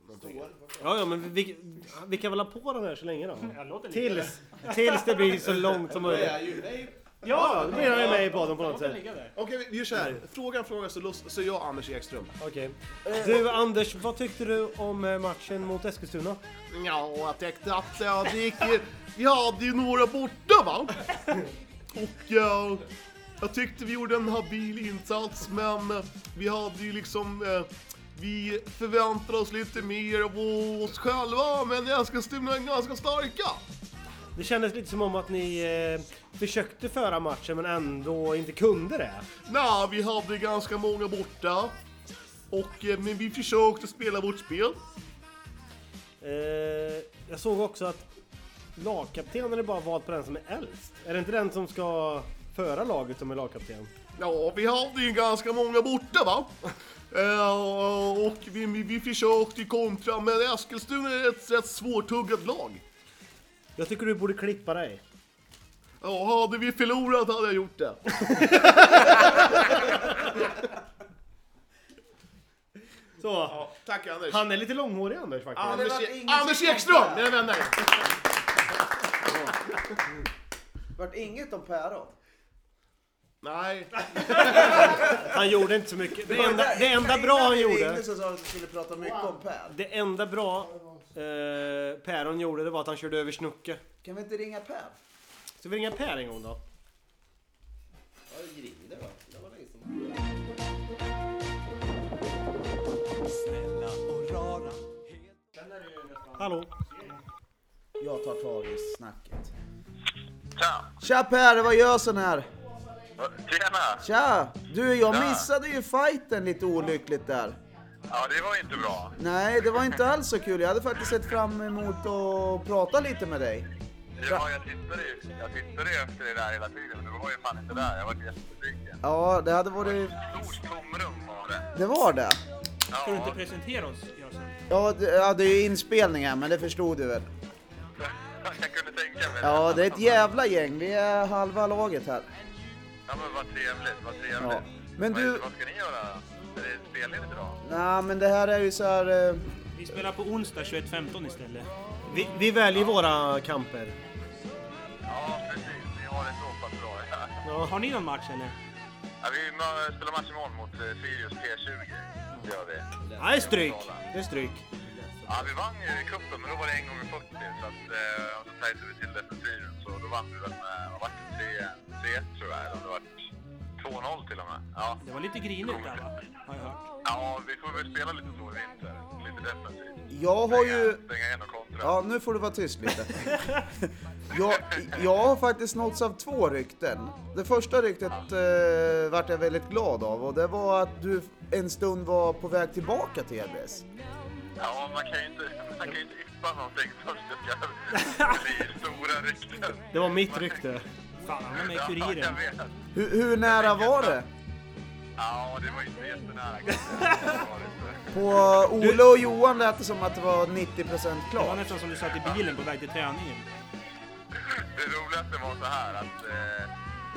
A: någonting.
B: Ja, ja, men vi, vi kan väl ha på den här så länge då?
F: Mm. Jag låter ligga.
B: Tills, tills det blir så långt som möjligt. Ja, då blir han ju med i podden på något
F: Låt den
B: sätt.
F: ligga där.
A: Okej, vi gör så här. Frågan frågar så, lust- så jag Anders Ekström.
B: Okej. Du Anders, vad tyckte du om eh, matchen mot Eskilstuna?
A: Ja, jag tänkte att eh, det gick ju... Vi hade ju några borta va? Och eh, jag tyckte vi gjorde en habil insats men eh, vi hade ju liksom... eh, Vi förväntade oss lite mer av oss själva men Eskilstuna är ganska starka.
B: Det kändes lite som om att ni eh, försökte föra matchen men ändå inte kunde det.
A: Nej, vi hade ganska många borta. Och, eh, men vi försökte spela vårt spel.
B: Eh, jag såg också att lagkaptenen är bara vald på den som är äldst. Är det inte den som ska föra laget som är lagkapten?
A: Ja, vi hade ju ganska många borta va? Eh, och vi, vi, vi försökte kontra, men Eskilstuna är ett rätt svårtuggat lag.
B: Jag tycker du borde klippa dig.
A: Ja, hade vi förlorat hade jag gjort det.
B: Så.
A: Tack Anders.
B: Han är lite långhårig Anders faktiskt.
A: Anders, E-
I: Det var ingen
A: Anders
I: som
A: Ekström,
I: kontrade.
A: mina vänner!
I: Vart inget om päron?
A: Nej,
B: Han gjorde inte så mycket. Det enda, det enda
I: Innan
B: bra han
I: vi ringde
B: gjorde,
I: så sa han att vi skulle prata mycket om Per.
B: det enda bra eh, Päron gjorde det var att han körde över Snucke.
I: Kan vi inte ringa Per?
B: Ska vi ringa Per en gång då?
G: Ja, det ringde va? Det var länge sedan.
B: Hallå?
I: Jag tar tag i snacket.
J: Tja!
I: Tja Per, vad gör sån här?
J: Tjena!
I: Tja! Du, jag
J: Tja.
I: missade ju fighten lite olyckligt där.
J: Ja, det var inte bra.
I: Nej, det var inte alls så kul. Jag hade faktiskt sett fram emot att prata lite med dig.
J: Ja, jag tittade ju jag tittade ju efter det där hela tiden, men du var ju fan inte där. Jag var jättebesviken.
I: Ja, det hade varit...
J: Stort tomrum var det.
I: Det var det.
F: Ska
J: Ja, [LAUGHS]
B: [LAUGHS]
F: du inte presentera oss, Jösen?
I: Ja, det, ja, det är ju inspelning här, men det förstod du väl?
J: jag kunde tänka mig
I: Ja, det är ett jävla gäng. Vi är halva laget här.
J: Ja, men vad trevligt, vad trevligt.
I: Ja. Men
J: Vad-
I: du...
J: Vad ska ni göra då? Är det spelledigt idag?
I: Nej, men det här är ju så här... eh,
F: Vi spelar på onsdag 21.15 istället.
B: Vi, vi väljer våra kamper.
J: Ja, precis. Vi har det så pass bra. Ja.
F: Har ni någon match eller?
J: Ja, vi mö- spelar match imorgon mot eh, Sirius P20. Det gör vi.
B: Nej, stryk! Det är stryk.
J: Ja, vi vann ju i cupen, men då var det en gång i 40. Så att, eh, och så tajtade vi till det för Sirius. Så då vann vi väl med, vad var det, 3 3-1 tror jag. Eller om det var 2-0 till och med. Ja.
F: Det var lite grinigt där, har jag hört.
J: ja, vi får väl spela lite så i vinter. Lite defensivt.
I: Jag har ju...
J: Stänga- Stänga igen och kontra.
I: Ja, nu får du vara tyst lite. [LAUGHS] Jag, jag har faktiskt nåtts av två rykten. Det första ryktet eh, vart jag väldigt glad av och det var att du en stund var på väg tillbaka till Ebis.
J: Ja, man kan ju inte, man kan ju inte yppa någonting först. Det ska bli stora rykten.
K: Det var mitt rykte.
F: Fan, han var med i
J: Ja, jag
F: Kuriren.
J: vet.
I: Hur, hur nära var det?
J: Ja, det var inte jättenära.
F: [LAUGHS]
I: På Ola och Johan lät det som att det var 90%
F: Det var
I: klart.
F: nästan som du satt i bilen på väg till träningen.
J: Det roligaste var så här att eh,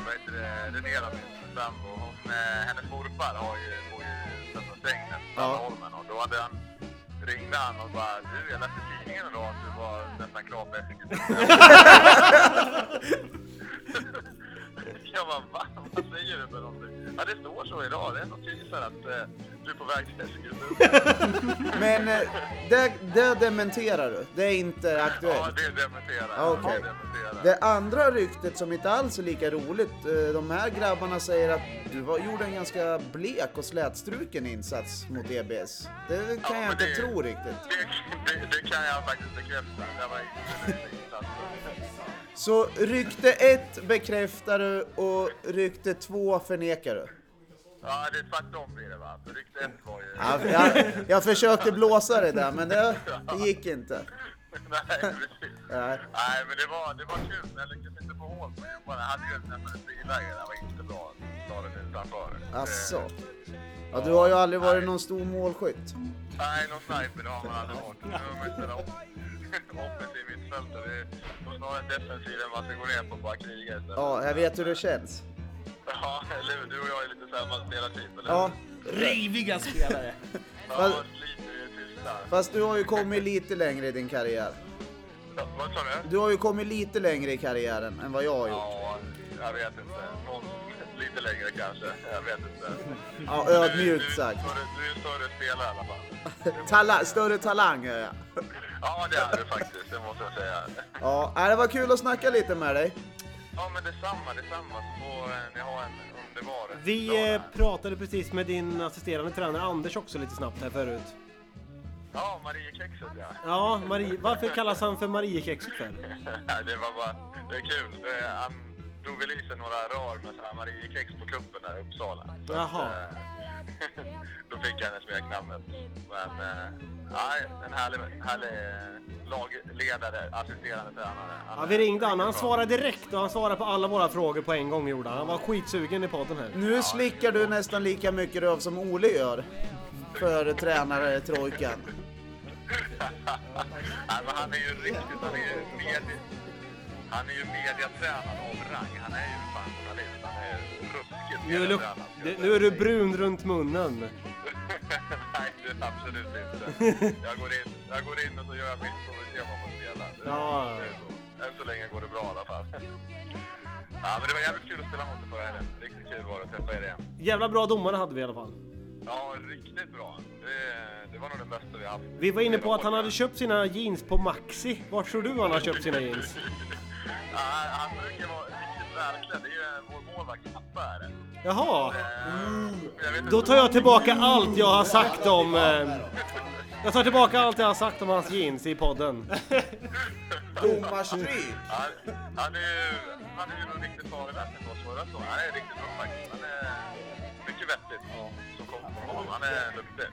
J: vad heter det, den ena min sambo, hon, eh, hennes morfar har ju, bor ju utanför Strängnäs, Sandholmen. Och då hade han, ringde han och bara du, jag läste i tidningen idag att du var nästan klar på effektivitet. [LAUGHS] jag bara va? Vad säger du för någonting? Ja det står så idag, det är något tydligt så här att eh, du är på väg till
I: [LAUGHS]
J: Eskilstuna.
I: Men eh, det, det dementerar du? Det är inte
J: Ja,
I: aktuellt?
J: det dementerar
I: Ja,
J: jag.
I: okej.
J: Det dementerar jag.
I: Det andra ryktet som inte alls är lika roligt, eh, de här grabbarna säger att du var, gjorde en ganska blek och slätstruken insats mot EBS. Det kan jag
J: men
I: inte
J: det-
I: tro riktigt.
J: Det, det, det kan jag faktiskt bekräfta. Det var inte en insats.
I: Så rykte ett bekräftar du och rykte två förnekar du.
J: Ja, det är tvärtom blir det va? För Rykte ett var ju... [LAUGHS]
I: Ja, jag, jag försökte blåsa det där men det, det gick inte.
J: Nej, precis.
I: Nej.
J: Nej, men det var, det var kul. Jag lyckades inte få hål på Johan. Jag hade ju nästan ett biläge. Det var inte bra. Ta den utanför.
I: Asså. alltså. Ja, du har ju aldrig varit någon stor målskytt.
J: Nej, någon sniper det har man aldrig varit. Nu har man ju ställt [LAUGHS] upp- offensiv mittfältare. Det är snarare defensiven man ska gå ner på och bara kriga istället.
I: Ja, jag vet hur det känns.
J: Ja, eller hur? Du och jag är lite samma spelartyp, eller
I: Ja,
K: Riviga spelare.
J: Ja, lite tysta.
I: fast du har ju kommit lite längre i din karriär.
J: Ja, Vad sa du?
I: Du har ju kommit lite längre i karriären än vad jag har gjort.
J: Ja, jag vet inte. Någon, lite längre kanske. Jag vet inte.
I: Ja, ödmjukt sagt.
J: Du, du, du är en större spelare i alla fall.
I: Tala större talang är jag.
J: Ja, det är du faktiskt. Det måste jag säga.
I: Ja, nej, det var kul att snacka lite med dig.
J: Ja, men detsamma. Detsamma. Så får eh, ni ha en underbar
K: Vi eh, pratade precis med din assisterande tränare Anders också lite snabbt här förut.
J: Ja, Mariekexet ja. [LAUGHS]
K: Ja, Marie, varför kallas han för Mariekexet för?
J: det var bara... Det är kul. Eh, Han drog väl i sig några rör med så här Mariekex på kuppen där i Uppsala. Så att,
K: Jaha.
J: eh, [LAUGHS] Då fick han det smeknamnet. Men eh, nej, en härlig, härlig eh, lagledare, assisterande tränare. Han
K: Ja,
J: är
K: vi ringde han. Han
J: riktigt bra.
K: svarade direkt och han svarade på alla våra frågor på en gång gjorde han. Han var skitsugen i podden här.
I: Nu slickar du nästan lika mycket röv som Ole gör. För tränare Trojkan.
J: [LAUGHS] Nej, men Alltså, han är ju riktigt, han är ju medie... Han är ju mediatränad av rang. Han är ju fan journalist. Han är ju ruskigt
K: Nu, luk-
J: mediatränad.
K: det- nu är du brun runt munnen.
J: [LAUGHS] Nej, det är absolut inte. Jag går in, jag går in och så gör jag mitt och vi ser vad man spelar. Det-
K: Ja.
J: det är så. Än så länge går det bra i alla fall. [LAUGHS] Ja, men det var jävligt kul att spela mot dig förra helgen. Riktigt kul var det att träffa er igen.
K: Jävla bra domare hade vi i alla fall.
J: Ja, riktigt bra. Det, det var nog det bästa vi haft.
K: Vi var inne på att han hade
J: Ja,
K: köpt sina jeans på Maxi. Vart tror du han har köpt sina jeans?
J: han brukar vara riktigt välklädd. Det är ju vår målvakt pappa är det. Eh,
K: Jaha,
J: Jag vet inte
K: då tar jag tillbaka allt jag har sagt om... Eh, jag tar tillbaka allt jag har sagt om hans jeans i podden.
I: Domarstryk!
J: Han, han är ju, han är ju nog riktigt farlig där för oss förra säsongen. Han är riktigt bra faktiskt. Han är mycket vettigt som kommer på honom. Han är duktig.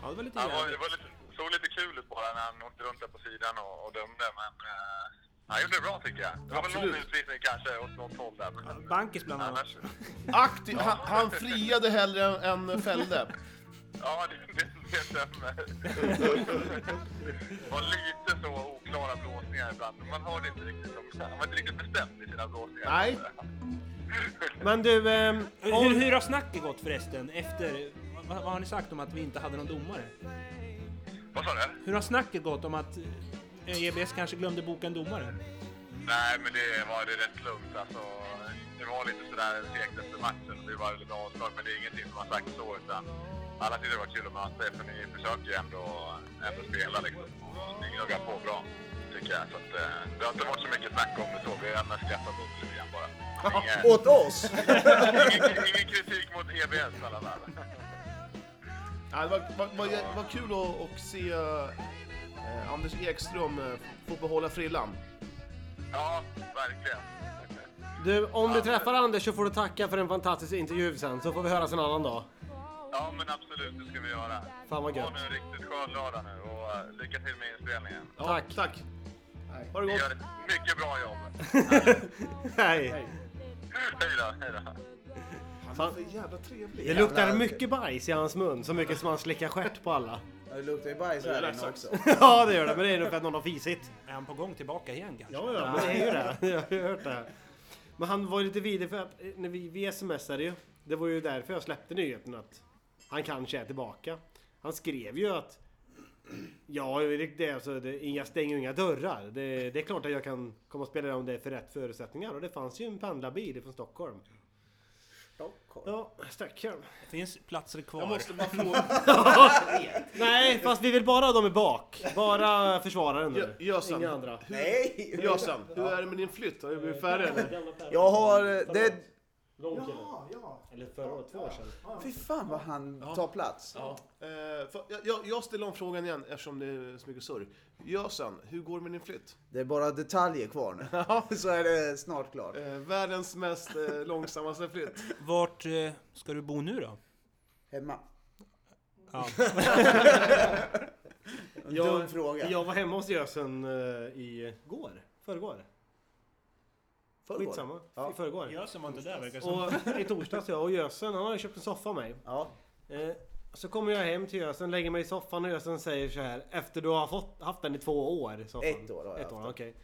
F: Ja, det var lite
J: Han var, det
F: jävligt.
J: var lite, såg lite kul ut bara när han åkte runt där på sidan och, och dömde. Men eh, han gjorde det bra tycker jag. Det var väl någon utvisning kanske åt något håll där. Men
F: Bankis bland annat.
J: annars,
A: Aktiv, han, han friade hellre än, än fällde.
J: ja det, det, det stämmer. Det var lite så oklara blåsningar ibland. Man hörde inte riktigt. om- Han var inte riktigt bestämd i sina blåsningar.
A: Nej.
K: Men du, ehm,
F: Hur, hur har snacket gått förresten? Efter... Vad, vad har ni sagt om att vi inte hade någon domare?
J: Vad sa du?
F: Hur har snacket gått om att eh, EBS kanske glömde boka en domare?
J: Nej, men det var det rätt lugnt. Alltså, det var lite sådär segt efter matchen. Det var lite avslag, men det är ingenting som har sagts så. Utan alla tyckte det var kul att möta er, för ni försöker ju ändå, ändå spela liksom. Och Ni gnuggar på bra, tycker jag. Så att, eh, det har inte varit så mycket snack om det så. Vi har mest skrattat åt det lite grann bara. Ingen,
I: Åt oss!
J: ingen, ingen kritik mot EBS i alla fall.
A: Ja, det var, var, var, var kul att, att se eh, Anders Ekström eh, få behålla frillan.
J: Ja, verkligen.
K: du, om du träffar Anders så får du tacka för en fantastisk intervju sen, så får vi höras en annan dag.
J: Ja, men absolut, det ska vi göra.
B: Fan, vad gött.
J: Ha nu en riktigt skön lördag nu och eh, lycka till med inspelningen.
B: Tack. Tack.
J: Ha det gott. Ni gör ett mycket bra jobb.
B: Hej.
J: Hej då, hej då.
A: Han är så jävla trevlig.
B: Det luktar mycket bajs i hans mun, så mycket som han slickar stjärt på alla.
I: Ja, Det luktar ju bajs här inne också.
B: [LAUGHS] ja, det gör det, men det är nog för att någon har fisit.
F: Är han på gång tillbaka igen kanske?
B: Ja, ja, men det är ju det. [LAUGHS] Jag har ju hört det. Men han var ju lite vidrig för att eh, när vi, vi smsade ju. Det var ju därför jag släppte nyheten att han kanske är tillbaka. Han skrev ju att Ja, det, det, är alltså, det, inga stäng och inga dörrar. Det, det är klart att jag kan komma och spela om det är för rätt förutsättningar. Och det fanns ju en pendlarbil från Stockholm. Stockholm? Ja, Stockholm.
F: Det finns platser kvar.
B: Jag måste bara fråga. Nej, fast vi vill bara ha dem i bak. Bara försvararen nu.
A: Jösen.
B: Inga andra.
A: Nej! Jösen, hur är det med din flytt? Har du blivit färdig eller?
I: Jag har... eh, Det,
B: Ja, ja. Eller förra året, två år sedan.
I: fy fan vad han tar plats.
A: Eh, för- jag- jag, jag ställer om frågan igen eftersom det är så mycket surr. Jösen, hur går det med din flytt?
I: Det är bara detaljer kvar nu. Så är det snart klart.
A: Eh, världens
G: [LAUGHS]
A: mest eh, långsammaste flytt.
F: [LAUGHS] Vart eh, ska du bo nu då?
I: Hemma.
F: Ja. Alltså,
I: Dum fråga.
B: Jag var hemma hos Jösen eh, i går, förrgår.
I: Förrgår.
B: Skitsamma,
I: Ja.
B: i förrgår.
F: Jösen var inte där verkar det som.
B: Och i torsdags jag och Jösen, han har ju köpt en soffa av mig.
I: Ja.
B: Eh, så kommer jag hem till Jösen, lägger mig i soffan och Jösen säger så här efter du har fått, haft den i två år. Soffan.
I: Ett år har jag
B: Ett
I: haft
B: år,
I: den.
B: okej.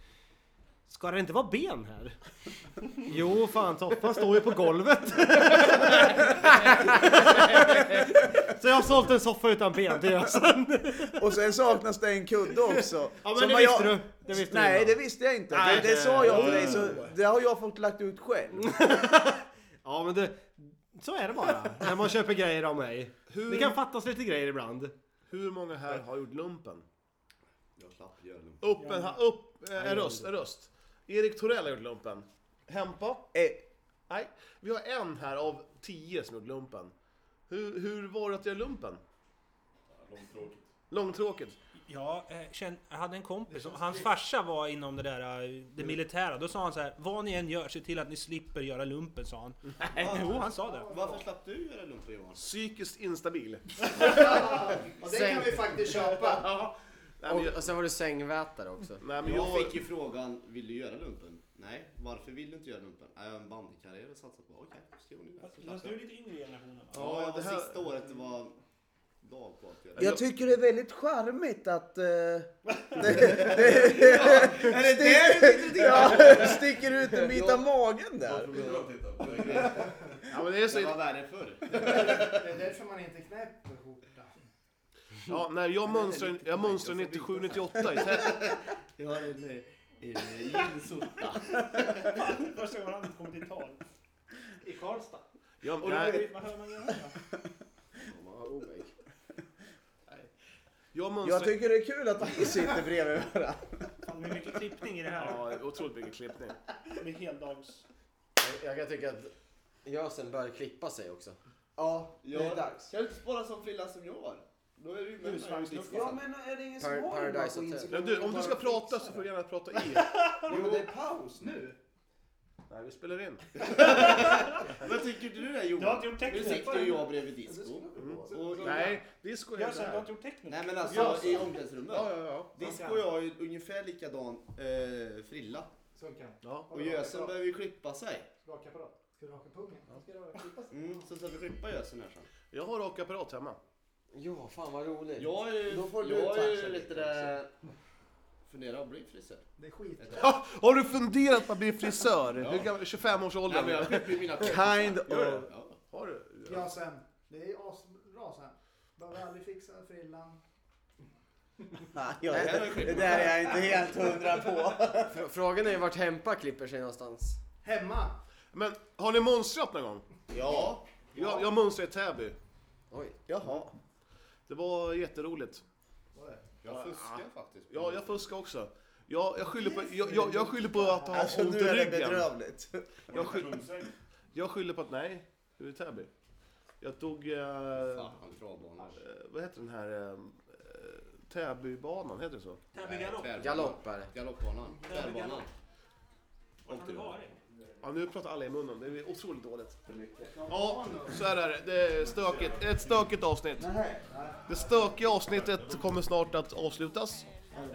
B: Ska det inte vara ben här? [LAUGHS] jo, fan soffan står ju på golvet. [LAUGHS] så jag har sålt en soffa utan ben till Jösen.
I: Och sen saknas det en kudde
B: [LAUGHS]
I: också.
B: men
I: Som
B: det
I: har
B: visste du. Det visste du
I: Nej,
B: innan.
I: det visste jag inte.
B: Nej,
I: det,
B: det- Mm.
I: det sa jag till
B: Jo.
I: dig, så det har jag fått lagt ut själv. Eh,
B: Ja men det, så är det bara när man köper grejer av mig.
A: Hur-
B: Det kan fattas lite grejer ibland.
A: Hur många här har gjort lumpen?
G: Jag slapp
A: Upp en, ha- upp, eh, en röst, en röst. Erik Torell har gjort lumpen. Hempa?
I: Eh,
A: Nej. Vi har en här av tio som gjort lumpen. Hur, hur var det att göra lumpen?
G: Långtråkigt.
A: Långtråkigt.
F: Ja, eh, känn, jag hade en kompis, som, hans farsa var inom det där eh, det militära. Då sa han så här, vad ni än gör, se till att ni slipper göra lumpen, sa han. Jo, han sa det.
G: Varför slapp du göra lumpen Johan?
A: Psykiskt instabil.
E: Och det kan vi faktiskt köpa.
A: Nej, men
D: Och,
A: jag,
D: och sen var det sängvätare också.
A: nej, men
G: Jag
A: jag,
G: fick ju frågan, vill du göra lumpen? Nej, varför vill du inte göra lumpen? "Nej, Jag har en bandykarriär att satsa på. Okej, så gjorde ni det. Så slapp jag.
F: lite yngre generationen
G: Ja,
A: Ja,
G: ja
A: det här-
G: sista året det var dag kvar att göra.
A: Ja.
G: Ja.
A: Jag-
I: Jag tycker det är väldigt charmigt att...
B: [LAUGHS]
I: eh,
G: Är det det du
I: [LAUGHS]
G: tyckte?
I: ja, sticker ut en bit av magen där.
A: ja, men det är
G: Det var
A: så,
G: värre förr.
E: Det är därför man inte knäpper skjortan.
A: ja, när jag mönstrar, jag mönstrar 97-98 i tä-
G: Jag har en eh, eh, jeansorta.
F: Första gången han kom till tal. I Karlstad.
A: jag, jag,
F: Vad hör man göra?
A: jag
I: Jag
A: mönstrar...
I: tycker det är kul att vi sitter bredvid varandra.
F: Fan, det är mycket klippning i det här.
A: Ja, otroligt mycket klippning.
F: Med heldags...
D: Jag kan tycka att Jösen bör klippa sig också.
I: Ja, det
G: Ja.
I: är dags.
G: Kan du inte spara som Frilla som jag har? Då är du ju med
F: Husvagnsluffaren.
I: Ja, men är det ingen som
D: Par-
I: har en bara
D: Paradise
I: på
D: Hotel.
I: Instagram?
A: Men du, om du ska prata så får du gärna prata i.
I: Jo, men det är paus nu.
A: Nej, vi spelar in.
G: Vad tycker du det Johan?
F: Du har inte gjort tecknet.
G: Nu sitter ju jag bredvid disco.
B: Mm.
G: Och,
A: Nej, disco är så här.
F: gjort tecknet.
G: Nej men alltså
A: Ja, så.
G: i omklädningsrummet.
A: Ja, ja, ja.
G: Disco och jag har ju ungefär likadan eh, frilla.
A: ja.
G: Och gösen behöver ju klippa sig.
E: Rakapparat. Ska du raka pungen? Ska du klippa sig?
G: Mm, så ska vi klippa gösen här sen.
A: Jag har rakapparat hemma.
D: Ja, fan vad roligt.
G: Jag är ju,
D: Då får du
G: jag är
D: toucha
G: ju
D: lite
G: lite där... Funderar på att bli frisör.
E: Det är skit.
A: Ja, har du funderat på att bli frisör?
G: Ja.
A: Hur gammal- 25 års
G: Nej men
A: ålder?
G: jag klipper ju mina
I: Kind of...
G: Gör det? Ja.
A: Har du?
E: Ja, sen. Det är asbra sen. Behöver aldrig fixa frillan.
I: Nej, jag- Det där är jag inte helt hundra på.
D: Fr- Frågan är vart Hempa klipper sig någonstans.
E: Hemma.
A: Men har ni mönstrat någon gång?
G: Ja.
A: Jag, jag mönstrade i Täby.
D: Oj.
I: Jaha.
A: Det var jätteroligt.
G: Jag fuskar faktiskt.
A: Ja, jag fuskade också. Jag, jag, skyller på, jag, jag, jag skyller på att
I: Alltså
A: ha ont
I: nu
A: i
I: är det
A: ryggen.
I: bedrövligt.
A: Jag skyller, jag skyller på att, nej, det var i Täby. Jag tog, eh,
G: Fan, travbanor.
A: vad heter den här, eh, eh, Täbybanan, heter det så?
G: Nej, tvärbanan.
D: Galopp är det.
G: Galoppbanan. Tvärbanan. Åkte du?
A: Ja, nu pratar alla i munnen. Det är otroligt dåligt. Ja, så här är det. Det är stökigt. Ett stökigt avsnitt. Det stökiga avsnittet kommer snart att avslutas.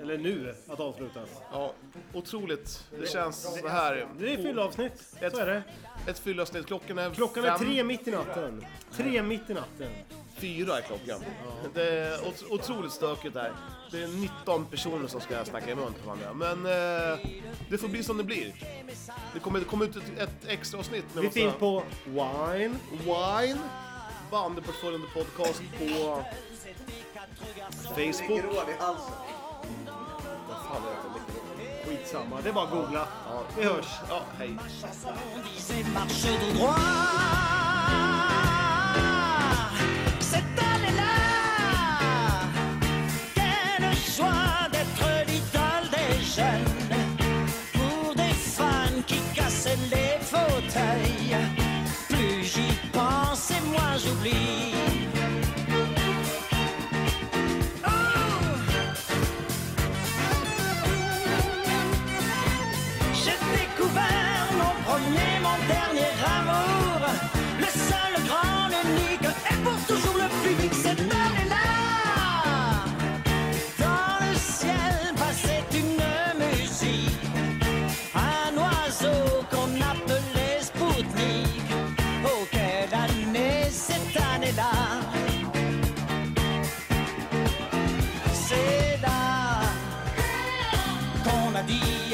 K: Eller nu att avslutas.
A: Ja, otroligt. Det känns så här.
K: Det är fyllavsnitt. Så är det.
A: Ett fyllavsnitt. Klockan är
K: Klockan är
A: fem.
K: tre mitt i natten. Tre mitt i natten.
A: Fyra är klockan. Det är ot- otroligt stökigt här. Det är 19 personer som ska snacka i mun på varandra. Men eh, det får bli som det blir. Det kommer, det kommer ut ett, ett extra avsnitt med
K: Vi
A: massa-
K: finns på Wine.
A: Wine. Bandyportföljande podcast på Facebook. Vad fan är det?
K: Skitsamma, det är bara att googla. Vi hörs.
A: Ja, hej.
C: marche de droit. Cette année-là, quelle joie d'être l'idole des jeunes. Pour des fans qui cassaient les fauteuils. Plus j'y pense et moins j'oublie. J'ai découvert mon premier, mon dernier amour. Le seul, le grand, l'unique et pour toujours le plus vite cette année-là. Dans le ciel passait une musique, un oiseau qu'on appelait Spoutnik. Oh, quelle année cette année-là. C'est là qu'on a dit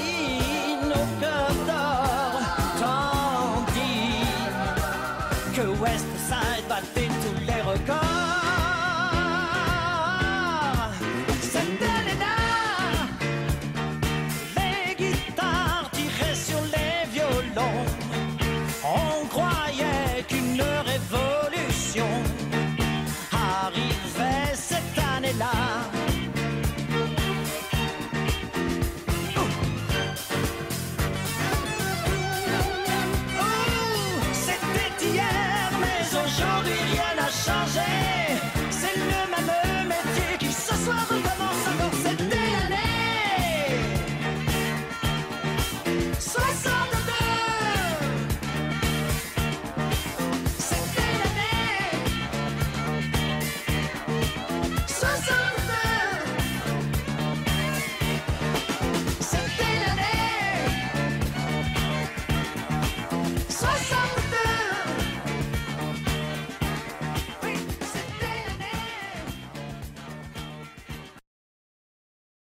C: au cœur d'or.
F: Oh,